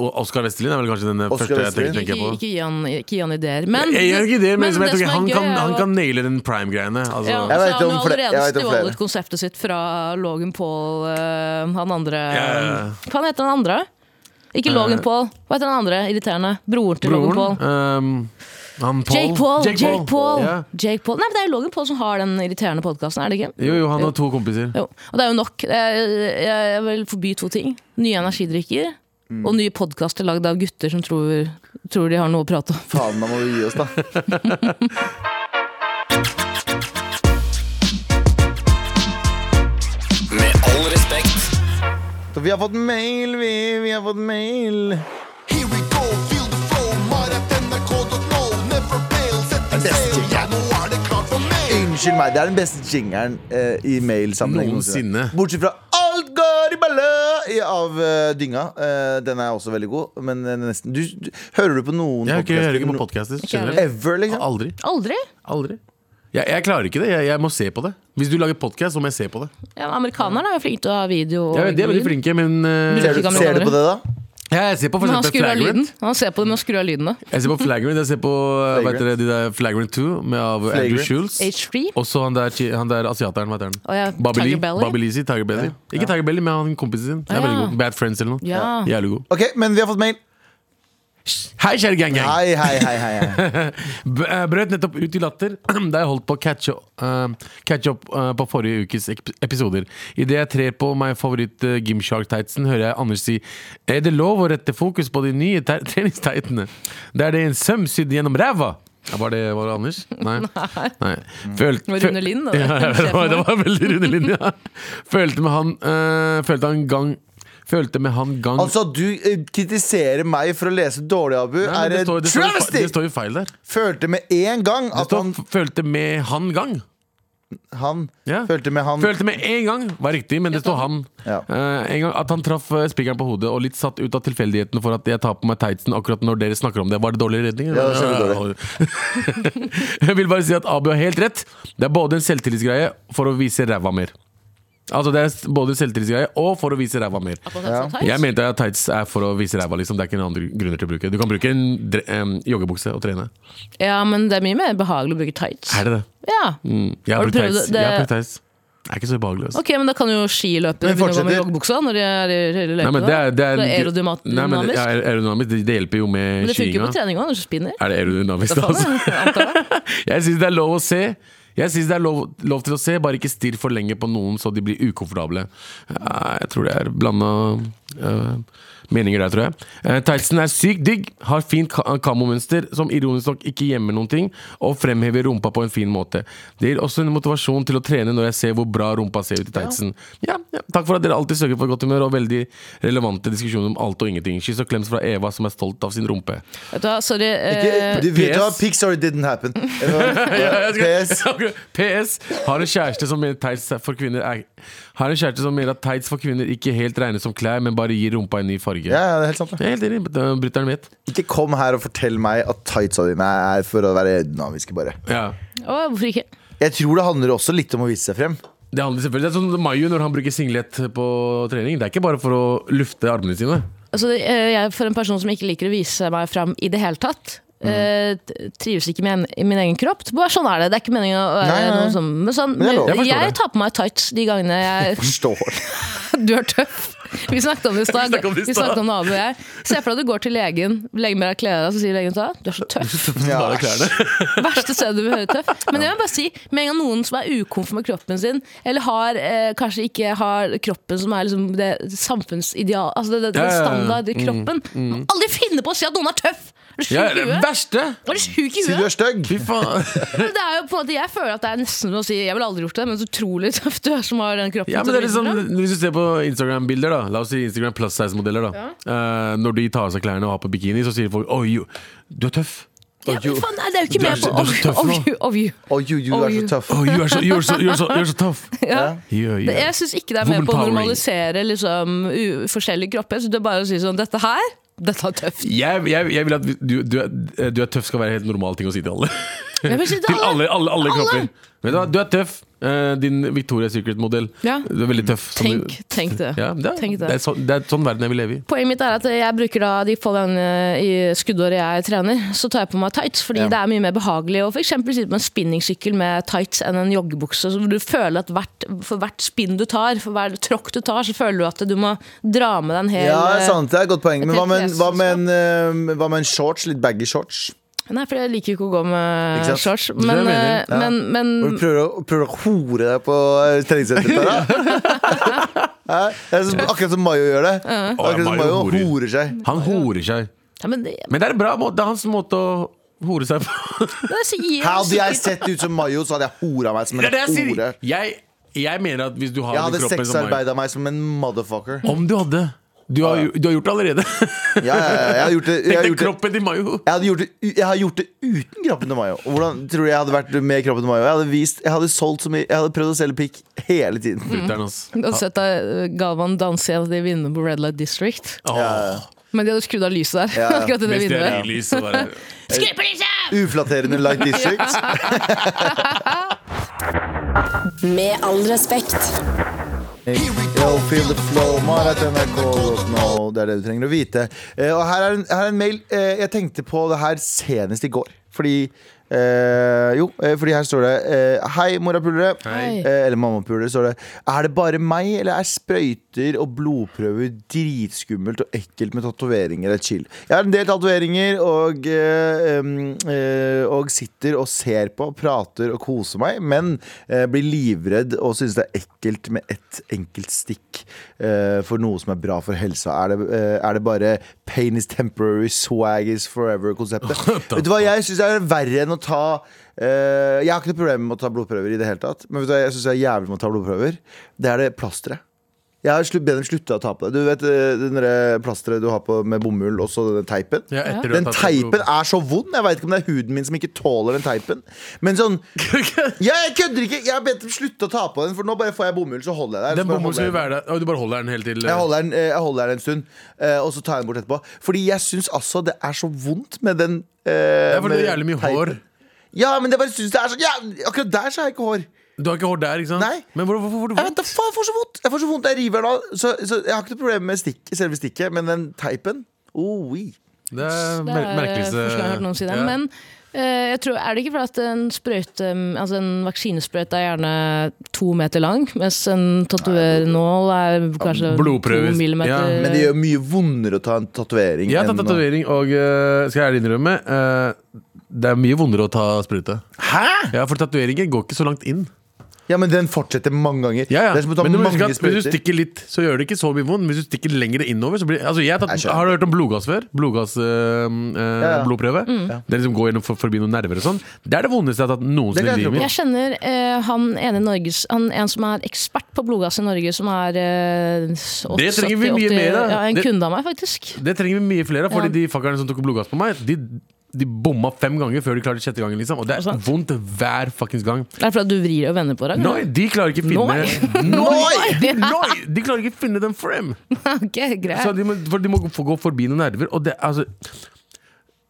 Og Oscar Vestelin er vel kanskje den Oscar første jeg Westerlin? tenker, tenker jeg Ikke, på. ikke, gi han, ikke gi han ideer. Men, Jeg gjør ikke det, men, liksom, jeg det tenker, som han, er kan, gøy er han jo kan at- naile den prime-greiene. Altså. ja, Ja, Jeg så vet har om han jo flere- jeg allerede vet om flere. stjålet konseptet sitt fra Logan Paul, eh, han andre ja. Eh. Hva heter han andre? Ikke Logan Paul. Hva heter han andre? Irriterende. Broren til Logan Paul. Broren ehm, han Paul. Jake Paul. Jake Paul. Ja. Jake Paul. Nei, men Det er jo Logan Paul som har den irriterende podkasten, er det ikke? Jo, jo, han har to kompiser. Jo, og det er jo nok. Jeg, jeg, jeg vil forby to ting. Nye energidrikker Mm. og nye podkaster lagd av gutter som tror, tror de har noe å prate om. Faen, da må vi gi oss, da. Med all respekt. Så vi har fått mail, vi. Vi har fått mail. Here we go, feel the flow, maratnrk.no, never fail, sett deg Beste selv, ja nå er det klart for mer. Unnskyld meg, det er den beste jingeren eh, i mailsammenheng Noensinne. Bortsett fra Alt går i balle i- av eh, Dynga. Eh, den er også veldig god, men eh, nesten du, du, Hører du på noen Jeg, har ikke, jeg hører ikke på podcaster? podcaster heller. generelt. Ever, liksom? Aldri. Aldri! Aldri. Jeg, jeg klarer ikke det. Jeg, jeg må se på det. Hvis du lager podkast, så må jeg se på det. Ja, amerikanerne er jo flinke til å ha video. og Jeg vet, de er veldig lyd. flinke, men eh, Ser du, Gamle ser du på det, da? ja, Jeg ser på for Men han eksempel skrur av lyden. Flagrant. Han ser på det med å skru av lyden. da. Jeg ser på Flagrant, jeg ser på eh, hva heter det, de der Flagrant 2 med av Andrew Flagrant. Schultz. H3. Og så han der, chi- han der asiateren, hva heter Å ja, han? Bobby Lee. Tiger Belly? Bobby Lee sier Tiger Belly. Ikke Tiger Belly, men han kompisen sin. Det er Ja. veldig god. Bad Friends eller noe. Ja. Jævlig god. OK, men vi har fått mail. Hei, kjære gang, gang. Hei, hei, hei. hei, hei. B- eh, Brøt nettopp ut i latter da jeg holdt på å catche eh, catche opp eh, på forrige ukes ep- episoder. Idet jeg trer på meg favoritt eh, Gymshark-tightsen, hører jeg Anders si Er det lov å rette fokus på de nye te- treningstightene? Der det er en søm sydd gjennom ræva? Ja, Var det, var det Anders? Nei. Nei. Følt, Det var Rune Lind, da. Ja, ja, det, var, det var veldig Rune Lind, ja. Følte med han eh, Følte han gang Følte med han gang Altså, du eh, kritiserer meg for å lese dårlig, Abu. Nei, men er det, står- det, står jo fe- travesty? det står jo feil der. Følte med en gang Det at står, han, følte med han gang. han Ja. Følte med han Følte med en gang, var riktig, men det står han. Ja. Eh, en gang At han traff eh, spikeren på hodet, og litt satt ut av tilfeldigheten for at jeg tar på meg tightsen akkurat når dere snakker om det. Var det dårlig redning? Ja, det var kjempedårlig. jeg vil bare si at Abu har helt rett. Det er både en selvtillitsgreie for å vise ræva mer. Altså Det er både en selvtillitsgreie og for å vise ræva mer. Jeg mente at tights er for å vise ræva, liksom. Det er ikke noen andre grunner til å bruke. Du kan bruke en dre em, joggebukse og trene. Ja, men det er mye mer behagelig å bruke tights. Er det det? Ja. Mm. Jeg har Har du brukt prøvd tights. det- Jeg har brukt tights. Det er ikke så behagelig. Altså. Ok, men da kan jo skiløpere Men begynne å gå med fortsetter. joggebuksa når de er i i løypa. Nei, men det er, det er, da. Så aerodynamisk. Nei, men det, men, er aerodynamisk. Det, det hjelper jo med det funker på skyinga. trening òg, når du spinner. Sånn, Er det aerodynamisk, da? Faen, Altså? jeg antar det. Jeg syns det er lov å se. Jeg synes det er lov, lov til å se, bare ikke stirr for lenge på noen så de blir ukomfortable. Eh, Jeg tror det er blanda meninger der, tror jeg. Eh, Tyson er sykt digg, har fint ka- kamomønster som ironisk nok ikke gjemmer noen ting, og fremhever rumpa på en fin måte. Det gir også en motivasjon til å trene når jeg ser hvor bra rumpa ser ut i Tyson. Ja, ja. Takk for at dere alltid sørger for godt humør og veldig relevante diskusjoner om alt og ingenting. Kyss og klems fra Eva, som er stolt av sin rumpe. Vet du hva, sorry. Ikke, Eh, du vet hva, PS. Pixar didn't happen. Eh, Ja, jeg PS. skal- PS. Har en kjæreste som mener tights for kvinner er, Har en kjæreste som mener at tights for kvinner ikke helt regnes som klær, men bare gir rumpa en ny farge. Ja, ja, det er helt sant. det. Jeg er helt enig. øh, den Brytteren mitt. Ikke kom her og fortell meg at tightsa dine er for å være dynamiske, bare. Ja. å, hvorfor ikke? Jeg tror det handler også litt om å vise seg frem. Det handler selvfølgelig Det er sånn Mayu når han bruker singlet på trening. Det er ikke bare for å lufte armene sine. Altså, det- eh, jeg, for en person som ikke liker å vise meg fram i det hele tatt, Mm. eh, t- trives ikke med en, i min egen kropp. Det er Bare sånn er det. Det er ikke meningen å være Nei, nei. noe som men sånn, Men det er lov. Jeg men forstår Jeg det. tar på meg tights de gangene jeg Forstår. Du er tøff. Vi snakket om det i stad. snakket om det i Vi stad. snakket om det, Abu og jeg. Se for deg at du går til legen, legger med deg klærne, så sier legen til deg du er så tøff. Ja, Verste stedet du vil høre tøff. Men jeg vil bare si, med en gang noen som er ukomfort med kroppen sin, eller har, eh, kanskje ikke har kroppen som er liksom det samfunnsideal, altså det, det, det Ja, ja, ja. standard i kroppen, må aldri finne på å si at noen er tøff! Er du sjuk Ja, i det huet? verste! Er du sjuk i Si du huet? er stygg. Fy faen. Det er jo på en måte, jeg føler at det er nesten som å si Jeg ville aldri gjort det, men så utrolig tøff du er som har den kroppen. Ja, men som det er du vil ha. liksom, Hvis du ser på Instagram-bilder, da La oss si Instagram plus size-modeller. da Eh, Når de tar av seg klærne og har på bikini, så sier folk Oi, jo, du er tøff. ja, men faen, nei, Det er jo ikke Du er med så- på du er så tøff of, nå. you, of you. Å, jo, jo, du er så tøff. Oh, you are so, you are so, you are so, you are so tough. Ja. Yeah, Det, yeah. jeg syns ikke det er med Woman på å powering. normalisere liksom, u forskjellige kropper. Så det er bare å si sånn Dette her, dette er tøft. Jeg, jeg, jeg vil at du, du, er- du er tøff skal være helt normal ting å si til alle. Jeg vil si det til alle, alle, alle Alle! kropper. Vet du hva, du er tøff. Eh, din Victoria's Secret-modell. Ja. Du er veldig tøff. som Tenk, du- tenk det. Ja, det, er, Tenk det. er det. så, det er sånn verden jeg vil leve i. Poenget mitt er at jeg bruker da de få gangene i skuddåret jeg trener, så tar jeg på meg tights, fordi det er mye mer behagelig å f.eks. sitte på en spinningsykkel med tights enn en joggebukse. Så du føler at hvert, for hvert spinn du tar, for hver tråkk du tar, så føler du at du må dra med deg en hel Ja, sant, det er et godt poeng. Men hva med, en- hva, med en, eh, hva med en shorts? Litt baggy shorts? Nei, for jeg liker jo ikke å gå Ikke med sant? shorts. er Men, meningen, eh, men, men Hvor du prøver å, prøver å hore deg på eh, treningssenteret? da? Hæ? Det er som, akkurat som Mayo gjør det. Akkurat som Mayo Mayo horer. horer seg. Han horer seg. ja, men det, Men det er, en bra måte, det er hans måte å hore seg på. det sier Hadde jeg sikkert- sett ut som Mayo, så hadde jeg hora meg som Det en er det jeg hore. sier. Jeg, jeg mener at hvis du har Jeg den hadde kroppen som meg sexarbeida meg som en motherfucker. Om du hadde. Du har, jo- du har gjort det allerede. Ja, ja, ja, jeg hadde gjort det, jeg Tenk hadde deg gjort det. kroppen til Mayo. Jeg, hadde gjort det, u- jeg har gjort det uten kroppen til Mayo. Og Hvordan tror du jeg hadde vært med kroppen til Mayo? Jeg hadde, vist, jeg hadde, solgt så mye, jeg hadde prøvd å selge pikk hele tiden. Brytteren, ass. Du hadde sett eh, Galvan danse i en av de vinduene på Red Light District. Åh, Men de hadde skrudd av lyset der. akkurat i det mens det er vinduet. lys, så bare Skru på lyset! Uflatterende Light District. Med all respekt. Yo, feel the flow, maratnrk.no. Det er det du trenger å vite. Eh, og her er, en, her er en mail. Eh, jeg tenkte på det her senest i går. Fordi eh, Jo, eh, fordi her står det eh, Hei, morapulere. Hei. Eh, eller mammapulere, står det. Er det bare meg, eller er sprøyter og blodprøver dritskummelt og ekkelt med tatoveringer? Det er chill. Jeg har en del tatoveringer og, eh, em, eh, og sitter og ser på, prater og koser meg, men eh, blir livredd og synes det er ekkelt med ett enkelt stikk eh, for noe som er bra for helsa. Er det, eh, er det bare pain is temporary, swag is forever-konseptet? Vet du hva, jeg syns det er verre enn å ta Eh, jeg har ikke noe problem med å ta blodprøver i det hele tatt. Men vet du hva jeg syns er jævlig med å ta blodprøver? Det er det plasteret. Jeg har slutt, bedre slutta å ta på det. Du vet eh, det der plasteret du har på med bomull, og så denne teipen? Ja, etter du har Den tatt teipen blod- er så vond. Jeg veit ikke om det er huden min som ikke tåler den teipen. Men sånn Ja, jeg kødder ikke! Jeg har bedt dem slutte å ta på den, for nå bare får jeg bomull, så holder jeg der. Den Så bare bommen holder skal jeg jo være der. Å, Du bare holder den helt til jeg holder, den, eh, jeg holder den en stund, eh, og så tar jeg den bort etterpå. Fordi jeg syns altså det er så vondt med den eh, Det er fordi med du har jævlig mye teipen. hår. Ja, men jeg bare synes det er så ja, Akkurat der så har jeg ikke hår. Du har ikke hår der, ikke sant? Nei. Men hvor- hvorfor får du Jeg vet vondt? da faen, jeg får så vondt! Jeg får så vondt, jeg river den av. Så, så jeg har ikke noe problem med stikk, selve stikket, men den teipen oh, oui. Det er Det mer er eh, merkeligste første gang jeg har hørt noen si det. Ja. Men Eh, Jeg tror, er det ikke fordi at en sprøyte Altså en vaksinesprøyte er gjerne to meter lang, mens en tatovernål er kanskje blodprøve, to millimeter ja. Men det gjør mye vondere å ta en tatovering. Jeg har tatt enn å- tatovering, og eh, skal jeg ærlig innrømme eh, Det er mye vondere å ta sprute. Hæ?! Ja, For tatoveringer går ikke så langt inn. Ja, men den fortsetter mange ganger. Ja, ja. Det er som å ta Men du må huske mange at hvis du sprøyter. stikker litt, så gjør det ikke så mye vondt. Men hvis du stikker lenger innover, så blir altså, jeg har tatt, Jeg skjønner. Har du hørt om blodgass før? Blodgass øh, øh, Ja, ja. blodprøve? Den som går gjennom for, forbi noen nerver og sånn. Det er det vondeste jeg har tatt Det kan noensinne i jeg tro på. livet Jeg mitt. kjenner eh, han ene i Norges han, En som er ekspert på blodgass i Norge, som er eh, s- Det trenger vi 80, mye mer av. Ja, en Det- kunde av meg, faktisk. Det trenger vi mye flere av, Ja. fordi de fuckerne som tok blodgass på meg, de, de bomma fem ganger før de klarte sjette gangen, liksom. Og det Og er sant. vondt hver fuckings gang. Det er fordi at du vrir og vender på deg? Nei, de klarer ikke finne Noi. Noi! Noi! De klarer ikke finne den frem! Ok, greit. Så de må, for de må få gå forbi noen nerver. Og det, altså,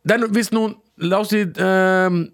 det er no, hvis noen La oss si ehm,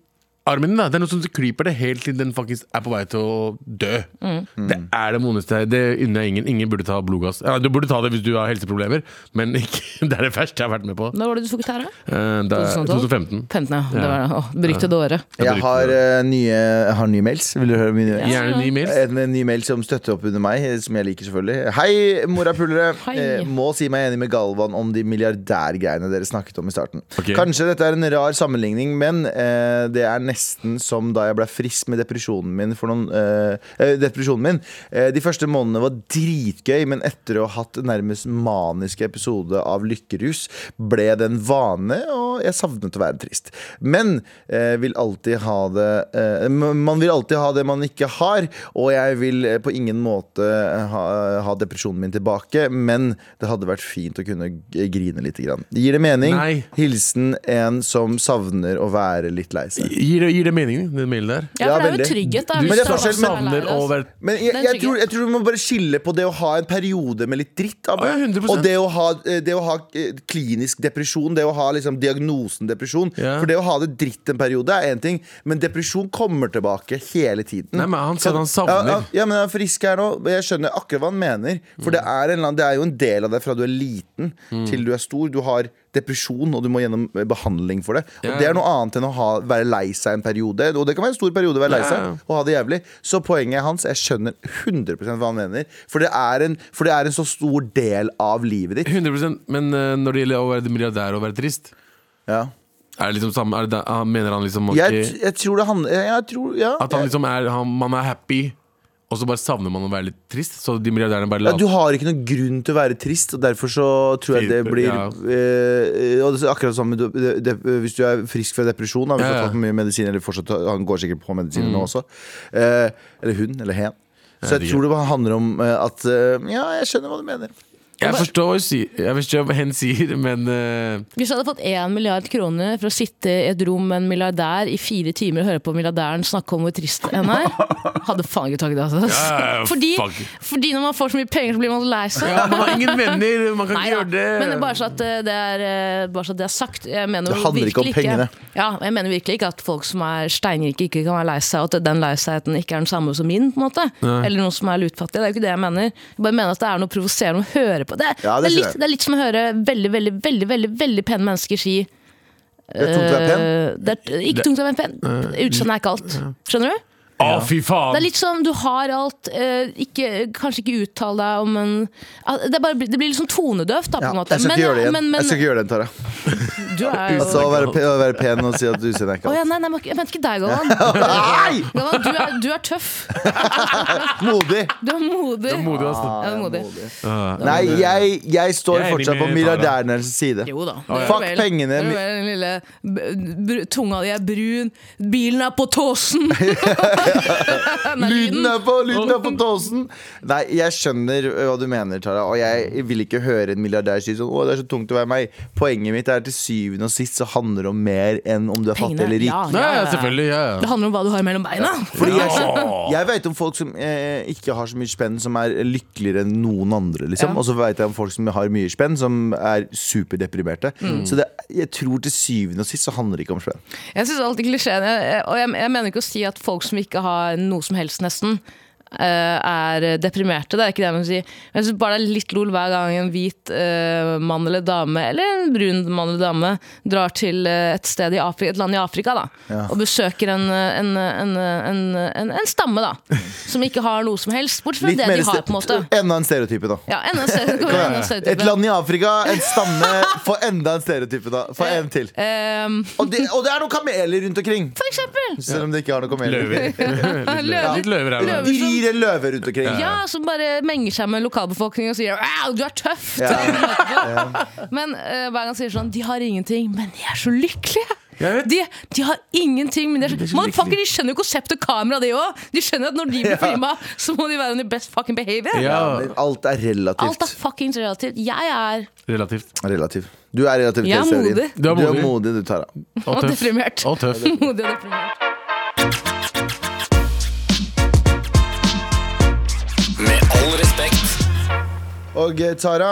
armen din. da Det er noe som kryper det helt til den faktisk er på vei til å dø. Det er det vondeste. her. Det unner jeg ingen. Ingen burde ta blodgass. Ja, du burde ta det hvis du har helseproblemer, men ikke, det er det verste jeg har vært med på. Når var det du tok gitara? Eh, det er 2012? 2015. 15, ja. Det var det. Åh, brukte det året. Jeg har, eh, nye, jeg har nye mails. Vil du høre mine? Gjerne ni mils. En ny mail som støtter opp under meg, eh, som jeg liker selvfølgelig. Hei, morapulere. Hei. Eh, Må si meg enig med Galvan om de milliardærgreiene dere snakket om i starten. Ok. Kanskje dette er en rar sammenligning, men eh, det er nesten som da jeg ble frisk med depresjonen min. For noen, eh, eh, depresjonen min. Eh, de første månedene var dritgøy, men etter å ha hatt nærmest maniske episode av lykkerus, ble det en vane, og jeg savnet å være trist. Men eh, vil alltid ha det eh, Man vil alltid ha det man ikke har, og jeg vil eh, på ingen måte ha, ha depresjonen min tilbake, men det hadde vært fint å kunne g- grine litt. Grann. Gir det mening? Nei. Hilsen en som savner å være litt lei seg. Gir det, gir det mening, den mailen der? Ja, Ja, for det er veldig. jo trygghet, da. Men hvis det er du forskjell, men- Savner altså. å være Men jeg, Den jeg, tror, trygghet. jeg tror du må bare skille på det å ha en periode med litt dritt. Abbe. Å, ja, 100%. Og det å ha, det å ha eh, klinisk depresjon, det å ha liksom diagnosen depresjon. Ja. For det å ha det dritt en periode er én ting, men depresjon kommer tilbake hele tiden. Nei, men han sier han ja, savner. ja, ja, men jeg er frisk her nå. men Jeg skjønner akkurat hva han mener. For det, er en, eller annen- det er jo en del av deg fra du er liten til du er stor. Du har depresjon, og du må gjennom eh, behandling for det. Og Ja. Det er noe annet enn å ha, være lei seg en periode. Og det kan være en stor periode å være lei Ja, seg ja. og ha det jævlig. Så poenget hans, jeg skjønner 100 hva han mener. For det er en, for det er en så stor del av livet ditt. 100 Men eh, når det gjelder å være milliardær og være trist Ja. er det liksom samme, er det, da- han mener han liksom ok, Jeg, jeg tror det handler Jeg tror, ja. At han liksom er, han, man er happy, og så bare savner man å være litt trist. Så de milliardærene bare Ja, later du har ikke noen grunn til å være trist, og derfor så tror jeg det Typer, blir ja. eh, Og det er akkurat det samme med de- de- hvis du er frisk fra depresjon. Da, hvis du Ja, Mm. har ja. tatt mye medisin, eller fortsatt, han går sikkert på medisiner nå også. Eh, eller hun, eller hen. Så jeg det tror det bare handler om eh, at eh, Ja, jeg skjønner hva du mener. Jeg forstår hva hun sier- jeg forstår hva hen sier, men eh, Hvis jeg hadde fått én milliard kroner for å sitte i et rom med en milliardær i fire timer og høre på milliardæren snakke om hvor trist en er, hadde faen ikke tatt det. Altså. Ja, fordi, fuck. fordi når man får så mye penger, så blir man så lei seg. ja, Man har ingen venner, man kan Nei ikke da, gjøre det. Men det er bare så at eh, det er, eh, bare så at det er sagt. Jeg mener Det handler ikke om virkelig pengene. Ja, jeg mener virkelig ikke at folk som er steinrike, ikke kan være lei seg, og at den lei segheten ikke er den samme som min. på en måte Eller noen som er lutfattige. Det er jo ikke det jeg mener. Jeg bare mener at det er noe provoserende å høre på. Det, er- Ja, det det, skjønner er litt, jeg. det er litt som å høre veldig, veldig, veldig veldig, veldig pene mennesker si Det er tungt å være pen. eh, det er Ikke tungt å være pen. Eh, Utseendet er ikke alt. Skjønner du? Å, fy faen! Det er litt som du har alt, eh, ikke, kanskje ikke uttal deg om en ah, Det, er bare, det blir litt sånn tonedøvt, da, på Ja, en jeg måte. skal ikke Men- gjøre det igjen. Men, men, Jeg skal ikke gjøre det igjen, Tara. du er jo Altså, å være, pe- å være pen og si at utseendet er Å ikke ja, alt. nei, nei, jeg mente ikke deg, Galvan. Nei! Galvan, du er, du er tøff. Modig! Du er modig. Det er modig, ass. Ja, du er modig. Nei, jeg, jeg står Jeg er enig fortsatt på med Tara. milliardærenes side. Jo da. ja. Fuck pengene. Det er vel den lille b- br tunga di er brun, bilen er på tåsen. Den er Lyden lyden. er på, lyden er på tåsen! Nei, jeg skjønner øh, hva du mener, Tara. Og jeg vil ikke høre en milliardær si sånn Å, det er så tungt å være meg. Poenget mitt er til syvende og sist så handler det om mer enn om du er fattig Pengene, eller rik. ja, Nei, ja, selvfølgelig. Ja, Det ja. handler om hva du har mellom beina. Fordi jeg, Ja. jeg vet om folk som eh, ikke har så mye spenn, som er lykkeligere enn noen andre. Liksom. Ja. Og så vet jeg om folk som har mye spenn, som er superdeprimerte. Mm. Så det, jeg tror til syvende og sist så handler det ikke om spenn. Jeg synes alltid klisjeen jeg- jeg- Og jeg, jeg mener ikke å si at folk som ikke har noe som helst nesten eh, er deprimerte. Det er ikke det jeg vil si. Men jeg synes bare det er litt lol hver gang en hvit eh, mann eller dame, eller en brun mann eller dame, drar til eh, et sted i Afrika, et land i Afrika da, og besøker en, eh, en, en, en, en, en stamme da, som ikke har noe som helst, bortsett fra det de har, på en måte. Enda en stereotype, da. Ja, enda en stereotype, Kom igjen. enda en stereotype. Et land i Afrika, en stamme. Få enda en stereotype, da. Få en til. Ehm, Og det, og det er noen kameler rundt omkring. for eksempel! Selv om det ikke har noen kameler. Løver. Løver. Litt løver her og der. De rir en løve rundt omkring. Ja, som bare menger seg med lokalbefolkningen og sier «Wow, du er tøff! Men eh, hver gang sier sånn De har ingenting, men de er så lykkelige! Jeg vet. De, de har ingenting, men de er så, er så Motherfucker, lykkelige. de skjønner jo konseptet kamera, de òg! De skjønner at når de blir filma, så må de være on the best fucking behavior. Ja, Alt er Alt er relativt. fuckings relativt. Jeg er relativt. Relativ. Du er relativt Jeg er teorin. modig. Du er Du er modig. modig, du, Tara. Og tøff. deprimert. Og tøff. modig og deprimert. Med all respekt. Og eh, Tara,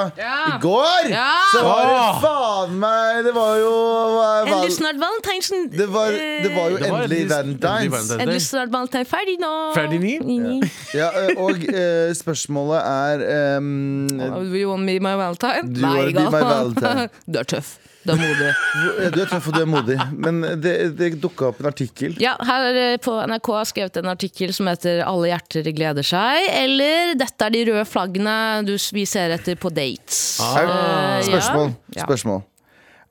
i går Ja. så var det Åh. faen meg Det var jo hva- Endelig val- snart valentinsen. det var, det var jo Det var endelig litt- endelig Valentine's. Valentine's. Endelig snart valentin. Eh, Ferdig nå! Ferdig ni? Ni. Ja, eh, og eh, spørsmålet er ehm, Oh, you want me my valentine? You wanna be my valentine. du er tøff. Du er modig. hvor- Du er tøff og du er modig, men det, det dukka opp en artikkel. Ja, her eh, på NRK har skrevet en artikkel som heter 'Alle hjerter gleder seg', eller 'Dette er de røde flaggene du, s- vi ser etter på dates'. Ah. Er, Eh, spørsmål. Ja. spørsmål.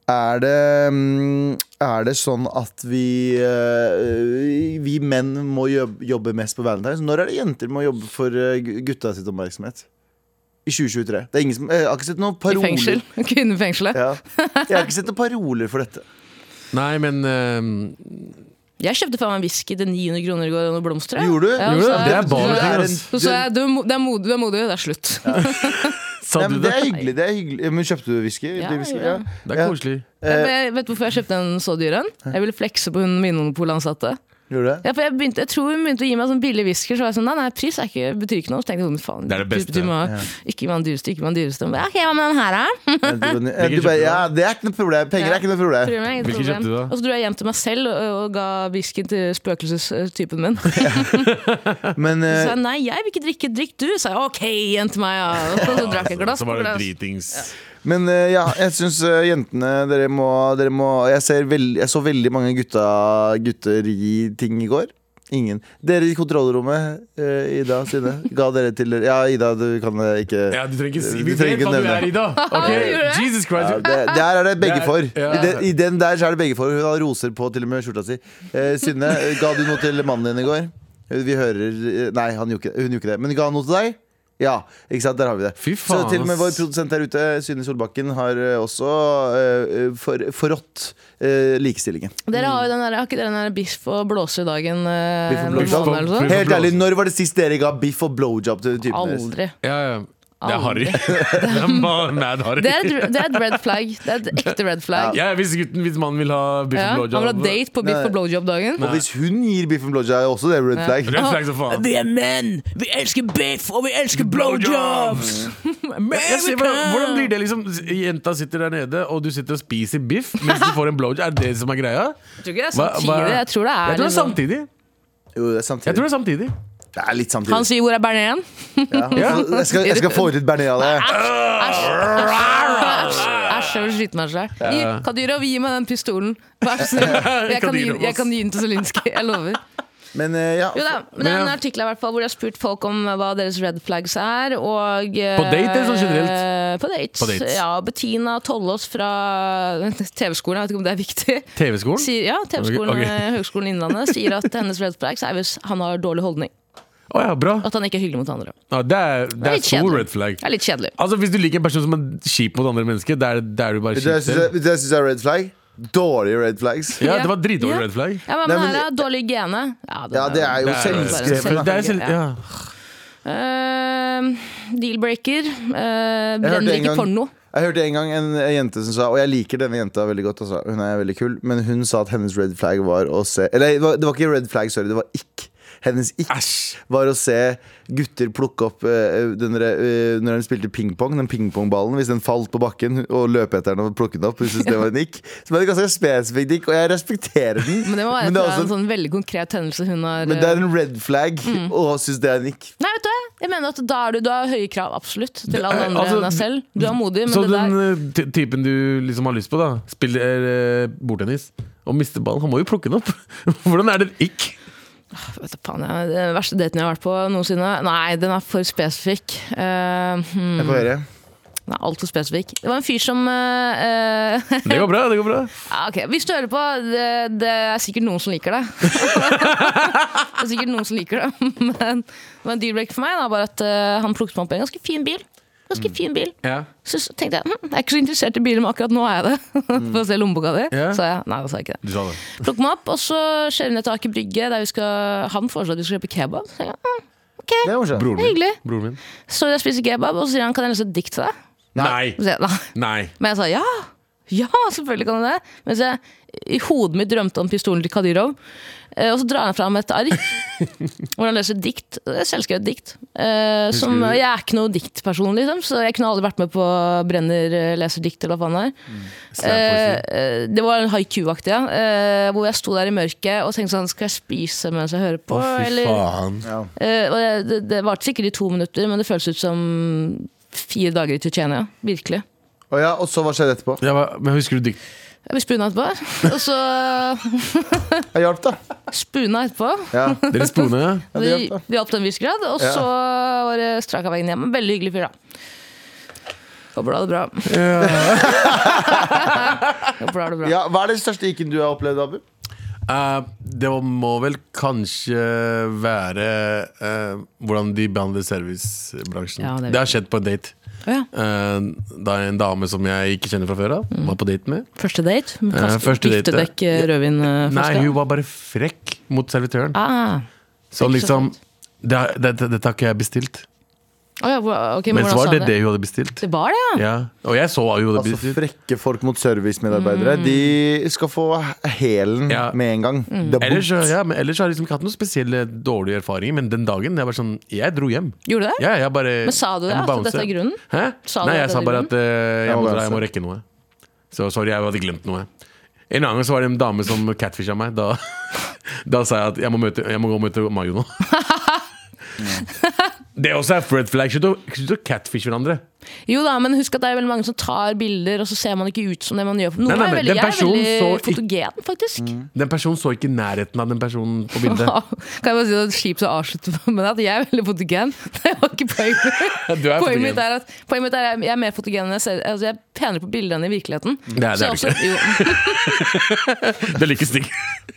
Er det, mm, er det sånn at vi, eh, vi menn må job- jobbe mest på Valentine's? Når er det jenter må jobbe for eh, gu- gutta sitt oppmerksomhet? I 2023. Det er ingen som, eh, jeg har ikke sett noen I fengsel. paroler. Kvinnefengselet. Ja. Jeg har ikke sett noen paroler for dette. Nei, men eh, Jeg kjøpte faen meg en whisky til 900 kroner i går og noen blomster. jeg. Gjorde du? Ja, Gjorde du? så jeg- Det er bare så jeg- en- ting, ass. Så sa jeg du, er mo- det er modig, du er modig, det er slutt. Sa Nei, du men det det? er hyggelig. det er hyggelig Men Kjøpte du whisky? Ja, Det er whisky, jeg ja. gjorde Det er koselig. Men jeg vet du hvorfor jeg kjøpte en så dyr en? Jeg ville flekse på hun Vinmonopolet-ansatte. Gjorde du det? Ja, for jeg, begynte, jeg tror hun begynte å gi meg sånn billig whisky. Så var jeg sånn, nei, nei, pris er ikke, betyr ikke noe. Så tenkte jeg sånn, faen, Det er det du- beste. Du, må, Ikke gi meg den dyreste, ikke gi meg den dyreste. Men, ok, hva med den her, da? Ja, du, ja, du bare, ja, det er ikke noe problem. Penger er ikke noe problem. Problem, ingen Hvilken problem. kjøpte du da? Og så dro jeg hjem til meg selv og, og ga whiskyen til spøkelsestypen min. Så Men eh, sa jeg nei, jeg vil ikke drikke, drikk du. Så sa jeg ok, igjen til meg. Ja. Og så drakk jeg glass Så på var det glass. dritings. Men eh, ja, jeg syns jentene Dere må, dere må jeg, ser veld, jeg så veldig mange gutta, gutter i ting i går. Ingen. Dere i kontrollrommet, eh, Ida og Sine, ga dere til dere Ja, Ida, du kan eh, ikke Ja, du trenger ikke si Du Vi trenger vet ikke hva du nevne. er, Ida. Ok? Gjorde jeg? Ja, Jesus Christ. det, der er det begge Der, for. ja. I, den, I den der så er det begge for. Hun har roser på til og med skjorta si. Eh, Synne, eh, ga du noe til mannen din i går? Eh, Vi hører eh, Nei, han gjorde ikke, hun gjorde ikke det. Men ga han noe til deg? Ja. ikke sant, Der har vi det. Fy faen, så til og med ass. vår produsent der ute, Synne Solbakken, har eh, også eh, for, forrådt eh, likestillingen. Dere har jo den der, har ikke dere den der biff og blåser-dagen? eh, Biff og med blowjob. måneden eller Biff sånn? og Helt ærlig, Når var det sist dere ga biff og blowjob til typen deres? Aldri. Ja, ja. Det er Aldri. harry. Det er ma- mad harry. Det er, et- det er et red flag. Det er et ekte red flag. Ja, hvis gutten, hvis mannen vil ha biff Ja, og han vil blowjob ha date på biff Nei. og blowjob-dagen. Og hvis hun gir biff og blowjob, er også det red flag. Rød flagg som faen. Vi er menn! Vi elsker biff, og vi elsker blowjobs! Jeg ser, hvordan, hvordan America! blir det liksom Jenta sitter der nede, og du sitter og spiser biff mens du får en blowjob. Er det det som er greia? Jeg tror ikke det er Hva- hva- samtidig. Jeg tror Jo, det Jeg tror det er samtidig. det er, liksom- er samtidig. Jeg tror det er samtidig. Det er litt samtidig. Han sier 'hvor er Berneren?' Ja. Så Jeg, skal, jeg skal få ut litt bearnés av det. Æsj, jeg vil skyte meg selv. Gi- Kadyrov, gi meg den pistolen. Vær så snill. Jeg kan gi, Kadyrov, ass. jeg kan gi den til Zelinskyj. Jeg lover. Men eh, ja. Jo da, men Det er en artikkel i hvert fall hvor de har spurt folk om hva deres red flags er. Og, eh, På date eller sånn generelt? eh, På dates. På dates. Ja, Bettina Tollås fra TV-skolen, jeg vet ikke om det er viktig. TV-skolen? Sier, ja, TV-skolen Ok, ok. eh, Høgskolen Innlandet sier at hennes red flags er hvis han har dårlig holdning. Å ja, bra. Og at han ikke er hyggelig mot andre. Ja, det er, det er litt stor kjedelig. red flag. Det er litt kjedelig. Altså Hvis du liker en person som er kjip mot andre mennesker, da er da er du bare Vet du hva kjip jeg syns selv. er- vet du hva jeg syns er red flag? Dårlige red flags. Ja, det var dritdårlig Ja. red flag. Ja, men, Nei, men her er dårlig hygiene. Ja, den Ja, det er jo Det er- selvskrevet. Det er selv, Ja. ja. Eh, Dealbreaker. Uh, Jeg hørte brenner en ikke gang- porno. Jeg hørte en gang en jente som sa Og jeg liker denne jenta veldig godt, altså. hun er veldig kul, men hun sa at hennes red flag var å se Eller det var, det var ikke red flag, sorry, det var ikk. Hennes ikk Æsj. var å se gutter plukke opp eh, den der, eh, Når de spilte pingpong, den pingpongballen. Hvis den falt på bakken, og løpe etter den og plukke den opp. Hun syntes det var en ikk. Så det er en ganske spesifikk ikk, og jeg respekterer den. Men det må være men det er, fra en også, sånn Mm. veldig konkret hendelse hun har en- men det eh, er en red flag å synes det er en ikk. Nei, vet du hva? Jeg mener at da er du, du har høye krav, absolutt, til alle andre altså, enn deg selv. Du er modig, men Så det den der eh, ty- typen du liksom har lyst på, da spiller eh, bordtennis og mister ballen, han må jo plukke den opp. Hvordan er det ikk? vet du, faen, jeg, Den verste daten jeg har vært på noensinne Nei, den er for spesifikk. Eh, hmm, Jeg får høre. den er altfor spesifikk. Det var en fyr som eh, eh, Det går bra. det går bra Ja, ok. Hvis du hører på, det, det er sikkert noen som liker det. det er sikkert noen som liker det, men det var en deal-breaker for meg. Da, bare at eh, Han plukket meg opp i en ganske fin bil. Ganske Mm. fin bil. Så s- tenkte jeg hm, jeg er ikke så interessert i biler, men akkurat nå er jeg det. For å se lommeboka di. Ja. Så jeg nei, da sa jeg ikke det. Du sa det. Plukket meg opp, og så kjører vi ned til Aker Brygge, der vi skal, han foreslår at vi skal kjøpe kebab. Så tenkte jeg, hm, Det er morsomt. Broren det min. er hyggelig. Broren min. Så jeg spiser kebab, og så sier han kan jeg lese et dikt til deg? Nei. Så sier jeg, nei. Nei. Men jeg sa ja! Ja, selvfølgelig kan jeg det! Mens jeg i hodet mitt drømte om pistolen til Kadyrov. Eh, Og så drar han fram et ark hvor han leser dikt. Det er Selvskrevet dikt. Eh, som, du- jeg er ikke noe diktperson, liksom, så jeg kunne aldri vært med på Brenner eh, leser dikt. eller hva faen det er. Eh, Slampoesi. eh, det var en haiku-aktig, ja. Eh, hvor jeg sto der i mørket og tenkte sånn Skal jeg spise mens jeg hører på? Fy eller, faen. Eh, og jeg- det, det varte sikkert i to minutter, men det føles ut som fire dager i Tsjetsjenia. Virkelig. Og, ja, og så hva skjedde etterpå? Jeg var, men husker du dikt? Vi spuna etterpå. Og så Jeg hjalp, da. spuna etterpå. Ja. Dere spone? ja? Vi, det hjalp, da. vi opp til en viss grad, og Ja. så var det strak av veien hjem. En veldig hyggelig fyr, da. Håper du har det bra. Håper du har det bra. Ja, hva er den største ikken du har opplevd, Abu? Eh, det må vel kanskje være eh, hvordan de behandler servicebransjen. Ja, det er det, har skjedd på en date. Å ja. Eh, da en dame som jeg ikke kjenner fra før av, Mm. var på date med. Første date? Eh, første date, ja. Biftedekk rødvinflaske? Nei, hun var bare frekk mot servitøren. eh, ah. så ikke så liksom det, det, det, Dette har ikke jeg bestilt. Å ja, hva- ok, Men men så hvordan var sa det det? det hun hadde bestilt. Det var det, ja! Ja. Og jeg så hva hun hadde Altså bestilt. Frekke folk mot servicemedarbeidere. De skal få hælen Ja. med en gang. Det er Ellers, bort. ja, men ellers har jeg liksom ikke hatt noen spesielle dårlige erfaringer, men den dagen jeg, var sånn, jeg dro hjem. Gjorde det? Ja, jeg bare, Men sa du det, jeg må at bounce. dette er grunnen? Hæ? Sa du Nei, at jeg dette sa er bare at eh, jeg, Jeg må må, dra, jeg må bounce. rekke noe. Så sorry, jeg hadde glemt noe. En annen gang så var det en dame som catfisha meg. Da, da sa jeg at jeg må, møte, jeg må gå og møte Mayo nå. Det også er red flag. Slutt å- Slutt å catfishe hverandre. Jo da, men husk at det er veldig mange som tar bilder, og så ser man ikke ut som det man gjør. Noen Nei, nei, er men veldig, den jeg er personen veldig så fotogen, faktisk. Den personen så ikke nærheten av den personen på bildet. Ja, Kan jeg bare si at det er kjipt å avslutte med at jeg er veldig fotogen. Det var ikke poenget mitt. Du er Poenget fotogen. mitt er at poenget mitt er at jeg er mer fotogen enn jeg ser. Altså, jeg er penere på bildet enn i virkeligheten. det er Så du jeg ikke. også- jo. Det er like stygg.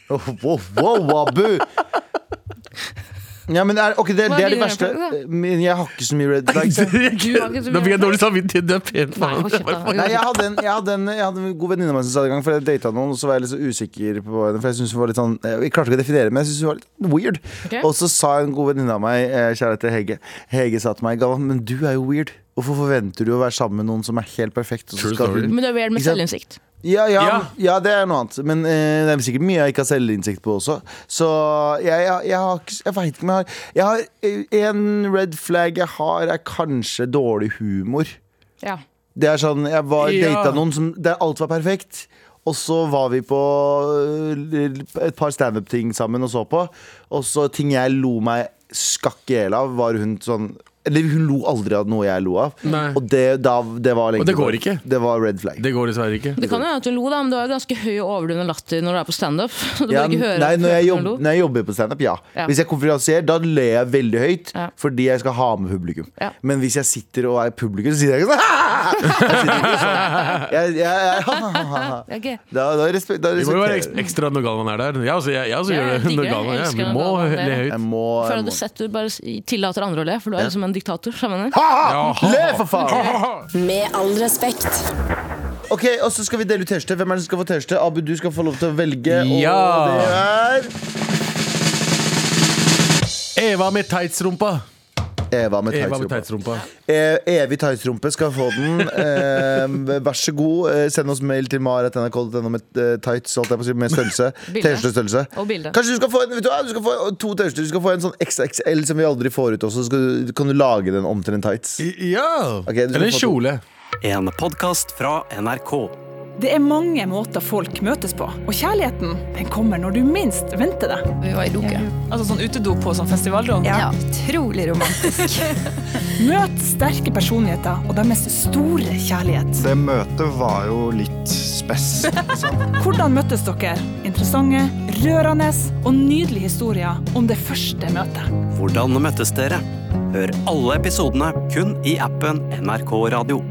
Oh, Wow, wow, Abu! Ja, men er, ok, det, Hva det er det blir det verste. for noe, Men jeg har ikke så mye red flags. jeg. ikke så mye Da fikk jeg dårlig samvittighet. Du er pen, Nei, faen. hold kjeft, da. Nei, jeg hadde en, jeg hadde en, jeg hadde en god venninne av meg som sa det en gang, for jeg data noen, og så var jeg litt så usikker på henne. For jeg synes hun var litt sånn Jeg klarte ikke å definere, men jeg synes hun var litt weird. Ok. Og så sa en god venninne av meg, eh, kjære til Hege, Hege sa til meg, Galvan, men du er jo weird. Hvorfor forventer du å være sammen med noen som er helt perfekt? Og så True skal story. hun Men du er weird med Ikke sant? selvinnsikt. Ja, ja, Ja. ja. det er noe annet. Men eh, det er sikkert mye jeg ikke har selvinnsikt på også. Så jeg, jeg, jeg, har ikke- jeg veit ikke om jeg har Jeg har eh, en red flag jeg har, er kanskje dårlig humor. Ja. Det er sånn, Jeg var Ja. data noen som der alt var perfekt. Og så var vi på eh, et par standup-ting sammen og så på. Og så ting jeg lo meg skakk i hjel av, var hun sånn Eller hun lo aldri av noe jeg lo av. Nei. Og det, da, det var lenge Og det går tilbake. ikke. Det var red flag. Det går dessverre ikke. Det kan jo hende at hun lo, da, men du har jo ganske høy og overdrevne latter når du er på standup. Så Du Ja, bør ikke høre nei, at når, jeg hun jobb, lo. når jeg jobber på standup, ja. Ja. Hvis jeg konferansier, da ler jeg veldig høyt Ja. fordi jeg skal ha med publikum. Ja. Men hvis jeg sitter og er publikum, så sitter jeg ikke sånn. Jeg sitter ikke sånn. Jeg, jeg, jeg, Ja, ok. da, da, respek, da Vi må jo være respekterer ekstra, ekstra når Galvan er der. Jeg også, jeg, jeg også Ja, jeg gjør det digger når det. Galvan er Jeg der. elsker Vi når må Galvan er der. le høyt. jeg må, For jeg at du må. sett du bare s- tillater andre å le, for du er liksom en diktator. skjønner du? Ha, Ja, ha! ha, Le, ha. for faen! Med all respekt. Ok, og så skal vi dele ut T-skjorte. Hvem er det som skal få T-skjorte? Abu, du skal få lov til å velge. Ja. Og det er Eva med tightsrumpa. Eva med Eva med tights. tightsrumpa. Eh, evig tightsrumpe skal få den. Eh, vær så god. Eh, send oss mail til mar.nrk.no med eh, tights holdt jeg på å si, med størrelse. Bilde. T-skjortestørrelse. Og bilde. Kanskje du skal få, en, vet du, hva? du skal få to T-skjorter. Du skal få en sånn XXL som vi aldri får ut også. Så skal du, kan du lage den om til en tights. Ja! Ok, du skal Eller en få to. kjole. En podkast fra NRK. Det er mange måter folk møtes på, og kjærligheten den kommer når du minst venter det. Vi var i Loke. Altså sånn utedo på sånn festivaldom. Ja, utrolig romantisk. Møt sterke personligheter og deres store kjærlighet. Det møtet var jo litt spess. Hvordan møttes dere? Interessante, rørende og nydelige historier om det første møtet. Hvordan møttes dere? Hør alle episodene kun i appen NRK Radio.